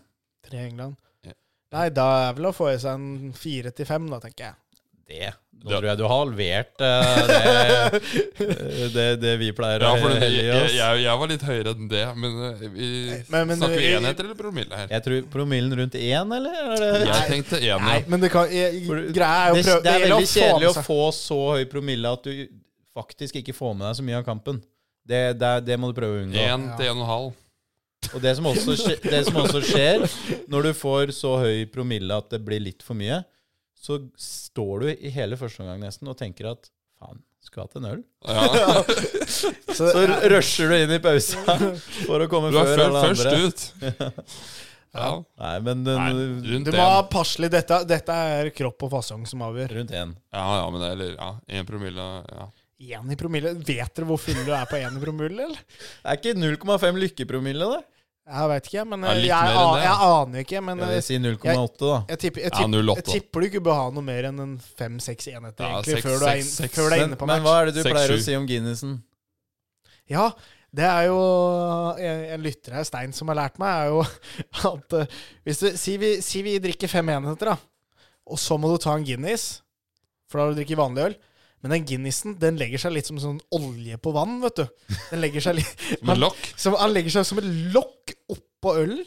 3 i England.
Ja.
Nei, da er vel å få i seg en 4 til 5, da, tenker jeg.
Det. Nå tror jeg du har halvert eh, det, det, det vi pleier
Ja,
å
for den, jeg,
helle i oss.
jeg, jeg var litt høyere enn det, men eh, vi
Men- men-
snakker vi
eh,
enheter eller promille her?
Jeg tror promillen rundt én, eller? Er det,
Jeg tenkte én,
Nei,
ja.
men det kan jeg,
For du-
Greia er jo
det,
å prøve
det er
gjelder
veldig kjedelig å
med seg-
få så høy promille at du faktisk ikke får med deg så mye av kampen. Det, det, er- det må du prøve å unngå.
Én til én og en halv.
Og det som, også skje, det som også skjer når du får så høy promille at det blir litt for mye, så står du i hele første omgang nesten og tenker at faen, skulle hatt en øl.
Ja.
Så,
Så r- rusher du inn i pausa for å komme
Du er
før
før,
alle
først
andre.
ut. Ja.
Nei, men eh,
Nei,
den,
du
rundt
må ha
én.
passelig dette, dette er kropp og fasong som avgjør.
rundt én.
Ja, ja, men det er eller, ja, én promille ja.
Én i promille. Vet dere hvor full du er på én i promille, eller?
Er ikke 0,5 lykkepromille, da?
Jeg veit ikke, men eh,
Ja, litt
jeg,
mer enn
an-
det,
jeg aner ikke. Men
Ja,
jeg,
vi sier 0,8, da.
jeg, tipper, jeg,
Ja,
tipper,
0,8.
jeg tipper du ikke bør ha noe mer enn en fem-seks enheter,
Ja,
egentlig,
seks-
før du er, inn,
seks- seks.
før du er
Men,
inne på
men
match.
hva er det du
Seks,
pleier å
sju.
si om Guinnessen?
Ja, det er jo en, en lytter her, Stein, som har lært meg, er jo at eh, hvis du, si, vi, si vi drikker fem enheter, da, og så må du ta en Guinness, for da har du drukket vanlig øl. Men den Guinnessen den legger seg litt som sånn olje på vann, vet du. Den legger seg litt,
Som en lokk.
som, han legger seg som et lokk oppå ølen,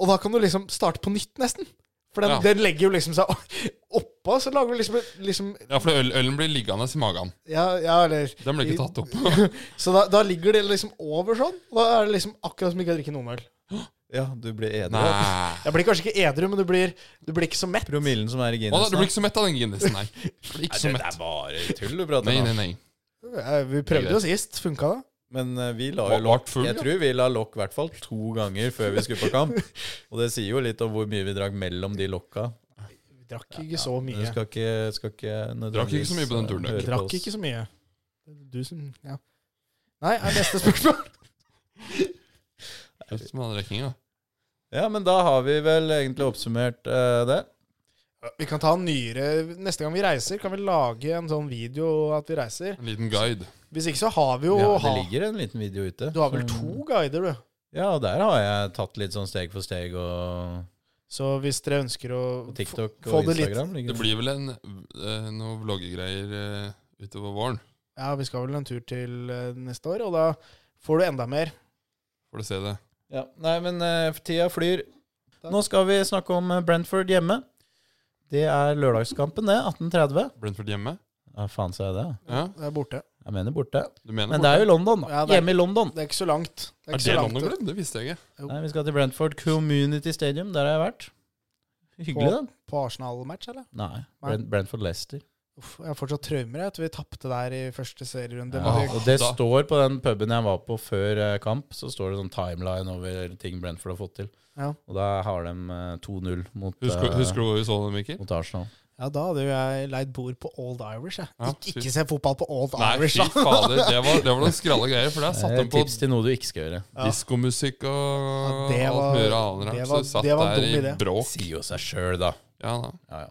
og da kan du liksom starte på nytt, nesten. For den,
Ja.
den legger jo liksom seg oppå oppå, så lager vi liksom, liksom
Ja, for øl, ølen blir liggende i magen.
Ja, ja eller
Den blir ikke tatt opp.
Så da, da ligger det liksom over sånn. og Da er det liksom akkurat som ikke å drikke noen øl.
Ja, du blir edru.
Nei.
av
Jeg blir kanskje ikke edru, men du blir, du blir ikke så mett.
Promillen som er
Å,
i
da,
Guinness.
du blir ikke så mett av den Guinnessen, nei. Du blir ikke så
det
mett.
er bare tull du prater
Nei,
om.
nei, nei.
Eh, Vi prøvde jo sist. Funka det?
Men eh, vi la jo
Var-
lokk
vart full,
Jeg
ja.
tror vi la lokk i hvert fall to ganger før vi skulle på kamp. Og det sier jo litt om hvor mye vi drakk mellom de lokka.
Vi drakk ikke så
Du
mye.
skal ikke, skal ikke
Drakk ikke så mye på den turen,
nødvendigvis, eh, høre på
Drakk
oss.
ikke så mye. Du som Ja. Nei, er neste spørsmål.
Ut med den rekkinga.
Ja, men da har vi vel egentlig oppsummert eh, det.
Vi kan ta en nyere Neste gang vi reiser, kan vi lage en sånn video at vi reiser.
En liten guide.
Hvis ikke så har vi jo
ja, det
ha.
ligger en liten video ute.
Du har vel
som-
to guider, du.
Ja, og der har jeg tatt litt sånn steg for steg og
Så hvis dere ønsker å
på TikTok
få
og
det litt-
Instagram. ligger
Det blir vel en, eh, noen vloggegreier eh, utover våren.
Ja, vi skal vel en tur til eh, neste år, og da får du enda mer.
Får du se det.
Ja, nei, men eh, tida flyr. Nå skal vi snakke om eh, Brentford hjemme. Det er lørdagskampen, det. 18.30.
Brentford hjemme.
Ja, faen sa jeg det?
Ja,
Det er borte.
Jeg mener borte.
du mener
Men det er jo London, da.
Ja, det er-
Hjemme i London.
Det er ikke så langt. Det er
Er
ikke så
det
langt.
London Globe? Det visste jeg ikke.
Nei, vi skal til Brentford Community Stadium. Der har jeg vært. Hyggelig, da.
På Arsenal-match, eller?
Nei. Brent, Brentford Leicester.
Uff, jeg har fortsatt traumer jeg, etter vi tapte der i første serierunde.
Ja,
Men
det-
og det
Da-
står på den puben jeg var på før eh, kamp, så står det sånn timeline over ting Brentford har fått til.
Ja.
Og da har de eh, 2-0 mot,
Husker,
eh,
husker du hvor vi så den, Mikkel?
mot Arsenal.
Ja, da hadde jo jeg leid bord på Old Irish. Jeg.
Ja,
Ik
fy-
ikke se fotball på Old
Nei,
Irish,
fy
da!
fader. Det var, det var noen skralle greier, for der
Det
satt
er
de
et
på
tips til noe du ikke skal gjøre.
Ja.
diskomusikk og
Ja, det var-
alt mulig annet.
det
rart,
var-
Så satt
det var
der
en dum
i
Det
idé.
bråk.
sier jo seg sjøl, da.
Ja, da.
Ja, ja.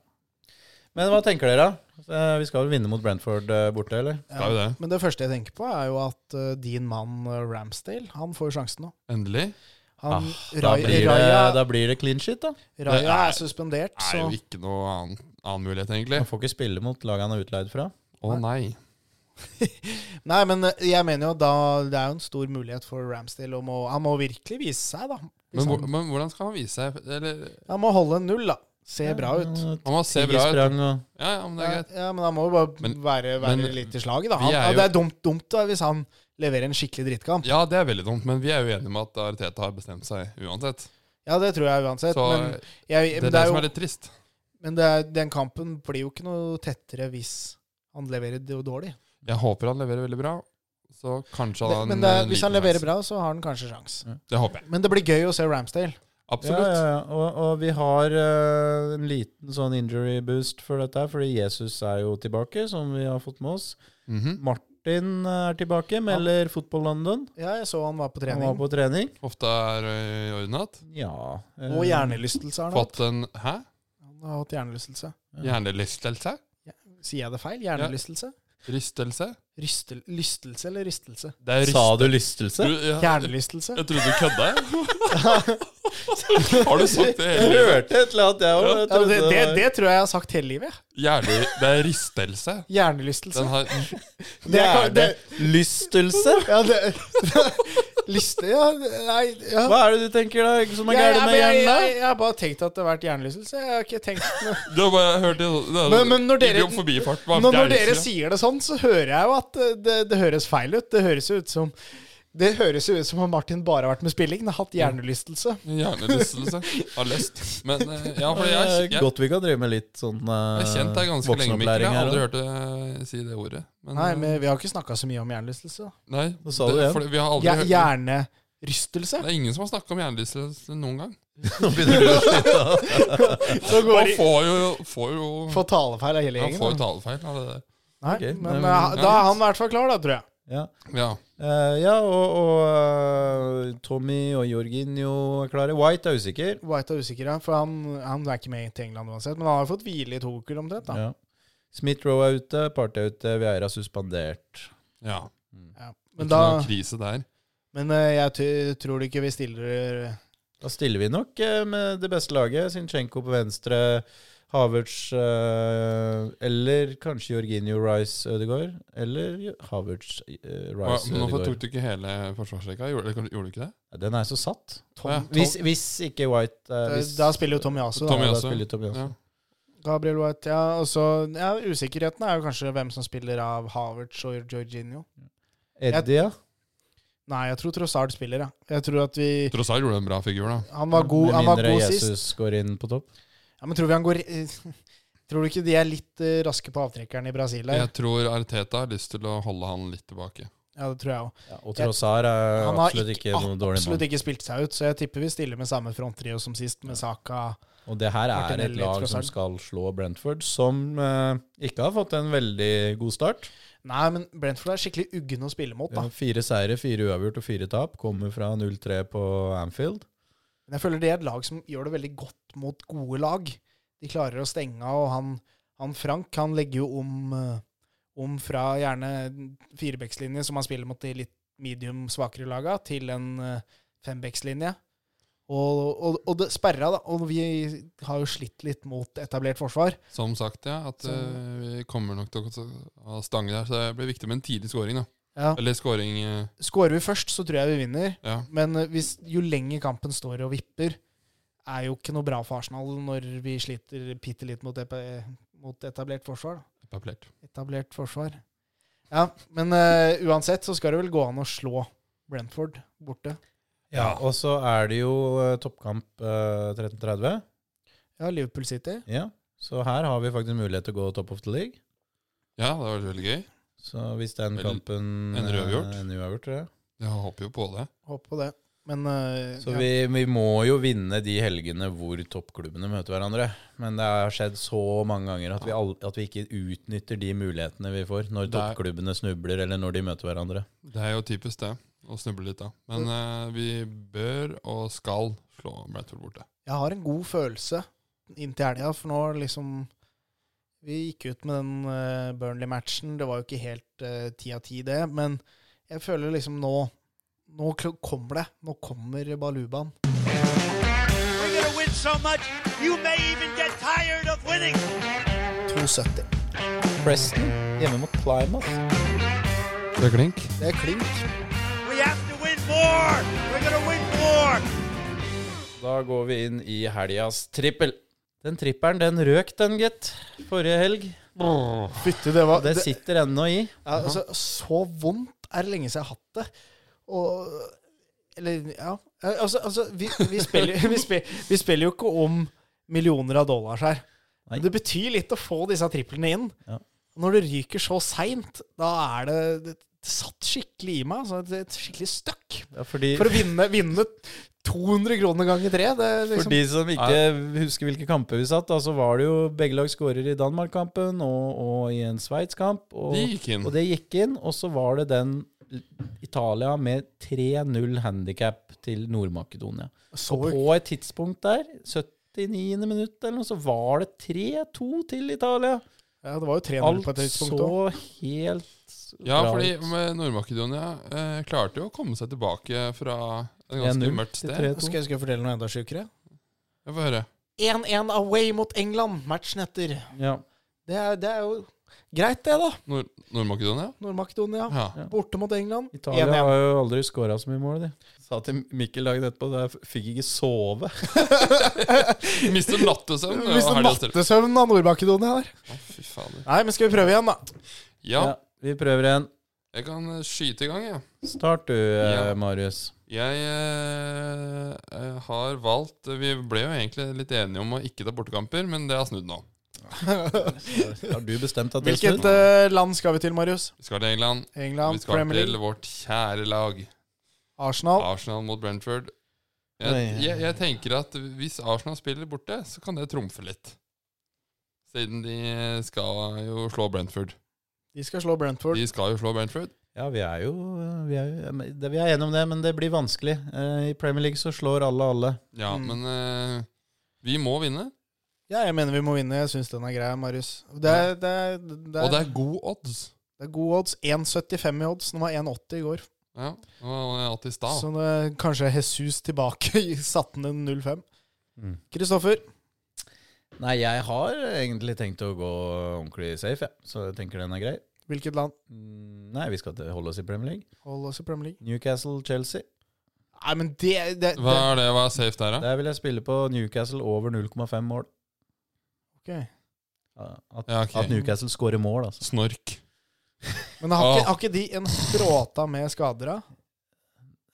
Men hva tenker dere? da? Eh, Vi skal vel vinne mot Brentford eh, borte, eller?
Det er jo det.
Men det første jeg tenker på, er jo at eh, din mann eh, Ramsdale, han får jo sjansen nå.
Endelig.
Han,
Da
Rai-
blir det,
Raja,
da blir det clean shit, da.
Det
Raja
er-
er suspendert,
Det er jo
så
ikke noe annen, annen mulighet, egentlig.
Han får ikke spille mot laget han er utleid fra.
Å nei.
Nei, men eh, jeg mener jo da det er jo en stor mulighet for Ramsdale. Om å, han må virkelig vise seg, da. Hvis
Men, hvor-
han,
men hvordan skal han vise seg? Eller,
han må holde en null, da. Se bra ut.
han må se bra ut.
Eh, Sprang, og...
Ja, ja, men det er
Ja,
greit.
ja, men han må jo bare
Men-
være, være
men
litt i slaget, da.
vi
Han,
er
ja,
jo-
det er dumt, dumt da, hvis han leverer en skikkelig drittkamp.
Ja, det er veldig dumt, men vi er jo enige med at Ariteta har bestemt seg uansett.
Ja, det tror jeg uansett.
Så
men
det
jeg,
er
men
det,
det er
som
jo,
er litt trist.
men det er, den kampen blir jo ikke noe tettere hvis han leverer det jo dårlig.
Jeg håper han leverer veldig bra, så kanskje
Det,
han
men
har
det,
en
hvis
liten
han leverer
sjanse.
bra, så har han kanskje sjans.
Det håper jeg.
Men det blir gøy å se Ramsdale.
Ja,
Absolutt.
ja, ja. Og, og vi har eh, en liten sånn injury boost for dette, her, fordi Jesus er jo tilbake, som vi har fått med oss.
Mhm.
Martin eh, er tilbake, melder Football London.
Ja, jeg så han var på
Han
trening.
var på trening.
Hofta er ø, i orden igjen.
Ja. eh,
Og hjernelystelse har han hatt.
Fått en Hæ?
Han har hatt hjernelystelse.
Hjernelystelse?
Sier jeg det feil? Hjernelystelse?
Rystelse?
Rystel, lystelse eller rystelse?
Det er
Sa
ryst-
du lystelse?
Du, ja,
Hjernelystelse?
Jeg trodde du kødda. Har du sagt det
Jeg
hele livet?
hørte et eller annet, jeg òg.
Ja, men det, det, det tror jeg jeg har sagt hele livet.
Hjerne... Det er rystelse.
Hjernelystelse.
Den har
Det er ka- det-
Lystelse?
Ja, det, lyste, ja, nei, ja.
Hva er det du tenker da, som er
Jeg-
gærent
jeg-
med
jeg,
hjernen?
jeg, jeg har bare tenkt at det har vært hjernelystelse. Jeg har ikke tenkt noe.
Du har bare hørt det sånn
Men- men når dere-
Idiom forbifart. hva-
Når,
det er
når dere
rystelse.
sier det sånn, så hører jeg jo at det, det, det høres feil ut. Det høres jo ut som det høres jo ut som om Martin bare har vært med spilling. Han har hatt hjernelystelse.
Hjernelystelse. Har lyst. Men eh, ja, fordi jeg, jeg, jeg,
Godt vi kan drive med litt sånn eh,
har kjent deg ganske lenge, Mikkel. Jeg
voksenopplæring
har aldri
her.
hørt deg si det ordet. Men,
Nei,
eh,
men vi har ikke snakka så mye om hjernelystelse.
nei,
Hva sa du igjen?
fordi vi har aldri
Ja,
hørt
hjernerystelse.
Det er ingen som har snakka om hjernelystelse noen gang.
Nå begynner du å slite.
Så går
Man
de
får jo, får jo
Får talefeil av hele
Man
gjengen.
får jo
da.
talefeil av det der.
Nei,
Ok, nei,
men
men-
eh, da er han i hvert fall klar, da, tror jeg.
Ja.
Ja.
Eh, ja, og, og eh, Tommy og Jorginho er klare. White er usikker.
White er usikker, ja, for han, han er ikke med til England uansett. Men han har jo fått hvile i to uker omtrent. da.
Ja. Smith-Roe er ute, Party er ute, Vieira er suspendert.
ja.
Ja.
Men
Men, da,
krise der.
men eh, jeg ty- tror ikke vi stiller eh,
Da stiller vi nok eh, med det beste laget. Sinchenko på venstre, Havertz eh, eller kanskje Jorginho Rice Ødegaard. Eller Havertz eh,
Hva,
Rice
men hvorfor tok
Ødegaard.
du ikke hele forsvarsrekka? Gjorde, eller gjorde du ikke det?
Den er så satt.
Tom.
Ja.
Tom
Hvis, hvis ikke White eh, hvis,
da spiller jo
Tom-
Tomiasso. da.
Ja, da
Tomiasso.
spiller Tomiasso.
Ja.
Gabriel White, ja. Og så ja, usikkerheten er jo kanskje hvem som spiller av Havertz og Jorginho.
Eddie, ja.
Nei, jeg tror Trossard spiller, ja. Jeg tror at vi
Trossard gjorde en bra figur, da.
Han var god, han
Med
var
mindre
god
Jesus
sist.
går inn på topp.
Ja, men tror vi han går Tror du ikke de er litt eh, raske på avtrekkeren i Brasil? her?
Jeg tror Arteta har lyst til å holde han litt tilbake.
Ja, det tror jeg òg.
Ja, og Trossar er
Han har
absolutt ikke, noe dårlig
absolutt
mann.
ikke spilt seg ut, så jeg tipper vi stiller med samme fronttrio som sist, med Saka
Og det her er et
Martinelli,
lag som
Trossard.
skal slå Brentford, som eh, ikke har fått en veldig god start.
Nei, men Brentford er skikkelig uggen å spille mot, da.
Fire seire, fire uavgjort og fire tap. Kommer fra 0-3 på Anfield.
Men jeg føler det er et lag som gjør det veldig godt mot gode lag. De klarer å stenge av, og han, han Frank han legger jo om, eh, om fra gjerne firebekslinje, som han spiller mot de litt medium svakere laga, til en eh, fembekslinje. Og, og, og det sperra, da. Og vi har jo slitt litt mot etablert forsvar.
Som sagt, ja. At
Så-
eh, vi kommer nok til å- å stange der. Så det blir viktig med en tidlig scoring, da.
Ja.
Eller scoring eh,
Skårer vi først, så tror jeg vi vinner.
Ja.
Men eh, hvis, jo lenger kampen står og vipper, er jo ikke noe bra for Arsenal når vi sliter bitte litt mot, EP, mot etablert forsvar. Da.
Etablert.
Etablert forsvar. Ja, men eh, uansett så skal det vel gå an å slå Brentford borte.
Ja, og så er det jo eh, toppkamp eh, 13.30.
Ja, Liverpool City.
Ja, så her har vi faktisk mulighet til å gå top of the league.
Ja, det var veldig gøy.
Så hvis den
Vel,
kampen
ender
eh,
uavgjort.
ender uavgjort ja.
Jeg håper jo på det.
Håper på det. Men eh,
Så
ja.
vi, vi må jo vinne de helgene hvor toppklubbene møter hverandre. Men det har skjedd så mange ganger at vi, all, at vi ikke utnytter de mulighetene vi får
Det
når
er-
toppklubbene snubler eller når de møter hverandre.
Det er jo typisk det, å snuble litt da. Men eh, vi bør og skal slå Brentford borte.
jeg har en god følelse inntil helga, for nå liksom Vi gikk ut med den eh, Burnley-matchen. Det var jo ikke helt eh, ti av ti, det. Men jeg føler liksom nå Nå kl- kommer det. Nå kommer balubaen.
We're going to win so much, you may even get tired of winning.
2,70.
Preston hjemme mot Plymouth.
Det er klink.
Det er klink.
We have to win more. We're going to win more.
Da går vi inn i helgas trippel. Den trippelen, den røk den, gitt. Forrige helg.
Fytti, det
Og
var
det sitter ennå i.
Ja, altså, så vondt er det lenge siden jeg har hatt det. Og Eller, ja Altså, altså vi, vi, spiller, vi, spiller, vi spiller jo ikke om millioner av dollars her.
Nei.
Det betyr litt å få disse triplene inn.
Ja.
Når det ryker så seint, da er det, det satt skikkelig i meg. Altså, det er et skikkelig støkk.
Ja, fordi,
For å vinne, vinne 200 kroner ganger tre det er
For
liksom,
de som ikke husker hvilke kamper vi satt, da, så var det jo begge lag skårer i Danmark-kampen og, og i en Sveits-kamp. og-
De gikk inn.
Og det gikk inn, og så var det den Italia med 3-0 handikap til Nord-Makedonia.
så,
På et tidspunkt der, 79. minutt eller noe, så var det 3-2 til Italia.
ja, Det var jo 3-0 på
Alt
et tidspunkt òg.
så helt
Ja,
bra
fordi
ut.
med Nord-Makedonia eh, klarte jo å komme seg tilbake fra et
1-0
ganske mørkt
til
sted.
3-2.
Skal, jeg- skal jeg fortelle noe enda sjukere?
Jeg får høre.
1-1 away mot England matchen etter.
Ja.
Det er, det er jo greit, det, da.
Nord- Nord-Makedonia?
Nord-Makedonia.
Ja.
Ja.
Borte mot England.
Italia
1-1.
har jo aldri skåra så mye mål, de. Sa til Mikkel dagen etterpå at jeg fikk ikke sove.
Mister nattesøvn.
Hvis det er nattesøvn av Nord-Makedonia der.
Fy fader.
Nei, men skal vi prøve igjen, da?
Ja,
Ja, vi prøver igjen.
jeg kan eh, skyte i gang, jeg. Ja.
Start du, eh,
Ja.
Marius.
Jeg eh, eh, har valgt Vi ble jo egentlig litt enige om å ikke ta bortekamper, men det har snudd nå.
Har du bestemt at det er
Hvilket
snudd?
eh, land skal vi til, Marius?
Vi skal til England. Vi
England,
skal
Premier
til
League,
vårt kjære lag.
Arsenal.
Arsenal mot Brentford. Jeg,
Oi.
jeg, jeg tenker at hvis Arsenal spiller borte, så kan det trumfe litt. Siden de skal jo slå Brentford.
De skal slå Brentford.
De skal jo slå Brentford.
Ja, vi er jo vi er, jo- men det- vi er enige om det, men det blir vanskelig. Eh, I Premier League så slår alle alle.
Ja,
Mm.
men eh, vi må vinne.
Ja, jeg mener vi må vinne. Jeg syns den er grei, Marius. Det er, det er, det
Og
er,
det er god odds.
det er gode odds. 1,75 i odds. Den var 1,80 i går.
Ja, det var alt i stad.
Så det, kanskje Jesus tilbake satte ned 0,5.
Mm.
Kristoffer,
Nei, jeg har egentlig tenkt å gå ordentlig safe, ja. så jeg tenker den er grei.
hvilket land?
Mm, Nei, vi skal til- holde oss i Premier League.
Hold oss i Premier League.
Newcastle-Chelsea.
Nei, men det, det,
Hva
det
er det? Hva er safe der, da?
Der vil jeg spille på Newcastle over 0,5 mål.
Ok.
At,
Ja, ok.
at Newcastle scorer mål, altså.
Snork.
Men har ikke,
Ah.
har ikke de en bråta med skader, da?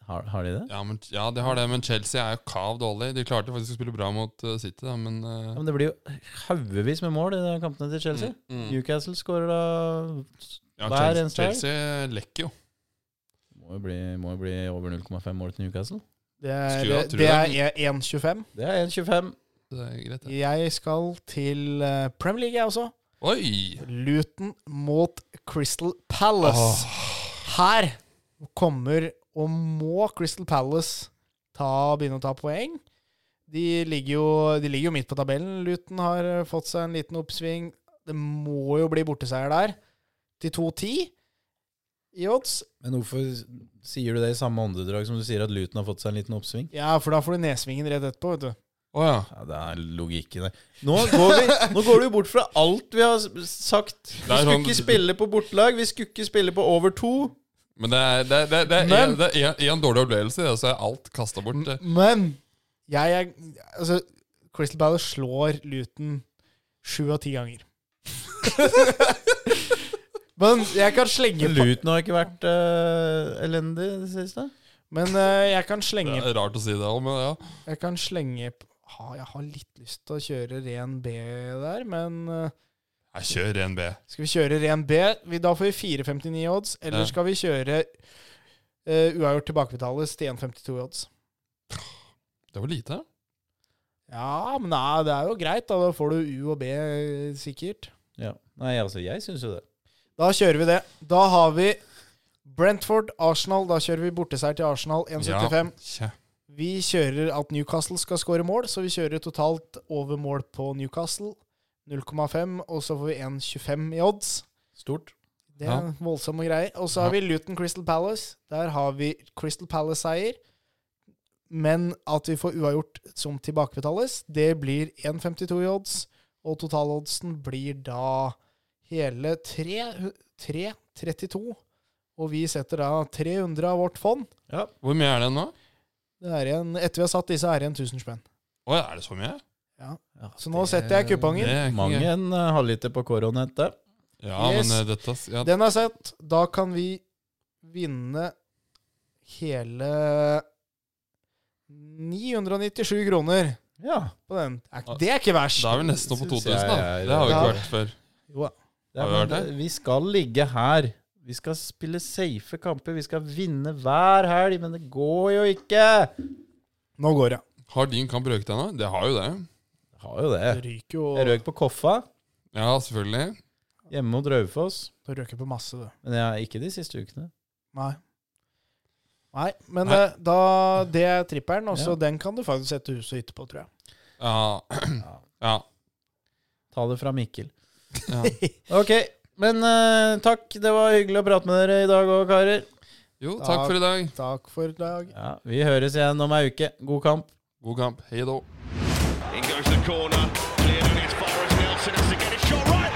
Har, har de det?
Ja, men, ja, de har det, men Chelsea er jo kav dårlig. De klarte faktisk å spille bra mot eh, City, da, men eh,
Ja, men det blir jo haugevis med mål i de kampene til Chelsea.
Mm, mm.
Newcastle skårer da
Ja,
hver
Chelsea,
eneste helg.
Chelsea lekker jo.
Må jo bli, må jo bli over 0,5 mål til Newcastle.
Det er,
Skulle jeg
det,
tro
det
det.
er 1,25.
Det er 1,25.
Det er greit, det.
Jeg skal til eh, Premier League, jeg også.
Oi!
Luton mot Crystal Palace. Her kommer og må Crystal Palace ta, begynne å ta poeng. De ligger, jo, de ligger jo midt på tabellen. Luton har eh, fått seg en liten oppsving. Det må jo bli borteseier der. Til 2-10 i odds.
Men hvorfor sier du det i samme åndedrag som du sier at Luton har fått seg en liten oppsving?
Ja, for da får du nedsvingen rett etterpå, vet du.
Å ja.
Ja, Det er logikken der. Nå går, vi, nå går du jo bort fra alt vi har s- sagt. Vi
Det er
skulle
sånn-
ikke spille på bortelag, vi skulle ikke spille på over to.
Men det er, det, det, det, er,
Men-
en, det er en, en dårlig opplevelse, og så er alt kasta bort. Det.
Men jeg er Altså, Crystal Palace slår Luton sju av ti ganger. Men jeg kan slenge på
Luton har ikke vært eh, elendig i det siste.
Men eh, jeg kan
det
slenge
er rart å si det òg, men ja.
Jeg kan slenge på ha, Jeg har litt lyst til å kjøre ren B der, men eh,
Jeg kjører 1B.
skal vi kjøre ren B? Vi, da får vi 4,59 odds. Eller
Ja.
skal vi kjøre eh, uavgjort tilbakebetales til 1,52 odds?
Det var lite.
Ja, men nei, det er jo greit. Da, da får du U og B eh, sikkert.
Ja. Nei, altså, jeg syns jo det.
Da kjører vi det. Da har vi Brentford, Arsenal. Da kjører vi borteseier til Arsenal, 1,75.
Kjæ.
Vi kjører at Newcastle skal skåre mål, så vi kjører totalt over mål på Newcastle. 0,5, og så får vi 1,25 i odds.
Stort.
Det er voldsomme greier. Og så har vi Luton Crystal Palace. Der har vi Crystal Palace-seier. Men at vi får uavgjort som tilbakebetales, det blir 1,52 i odds. Og totaloddsen blir da hele 3 3,32. Og vi setter da 300 av vårt fond.
Ja.
Hvor mye er det nå?
Det er igjen, etter vi har satt disse, er det igjen 1000 spenn.
Å, er det så mye?
Så nå setter jeg kupongen.
Det er ikke
Mange
gøy.
en eh, halvliter på koronahette.
Ja,
Yes.
men eh, dette ja,
Den er sett. Da kan vi vinne hele 997 kroner
Ja.
på den. Er ikke- Det er ikke verst.
Da er vi nesten oppe på
Synes
2000,
jeg
da.
er-
Det har vi ikke
Ja.
vært før.
Jo da.
Det
Har vi
er,
vært
men det- vi skal ligge her. Vi skal spille safe kamper. Vi skal vinne hver helg, men det går jo ikke!
Nå går det.
Har din kamp røket ennå? Det har jo det.
Jeg har jo det.
Det ryker jo
Jeg
Det
røk på Koffa,
Ja, selvfølgelig.
hjemme mot Raufoss.
røker på masse, du.
Men jeg, ikke de siste ukene.
Nei. Nei, men
Nei.
eh, da Det er trippelen, og så
Ja.
den kan du faktisk sette hus og hytte på, tror jeg.
Ja.
Ja.
ja.
Ta det fra Mikkel.
ja.
Ok, men eh, takk. Det var hyggelig å prate med dere i dag òg, karer.
Jo, takk for i dag.
Takk for i dag.
Ja, vi høres igjen om ei uke. God kamp.
God kamp. Hei då.
In goes the corner. Cleared on as far as Nelson has to get a shot right.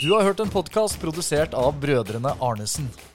Du har hørt en podkast produsert av brødrene Arnesen.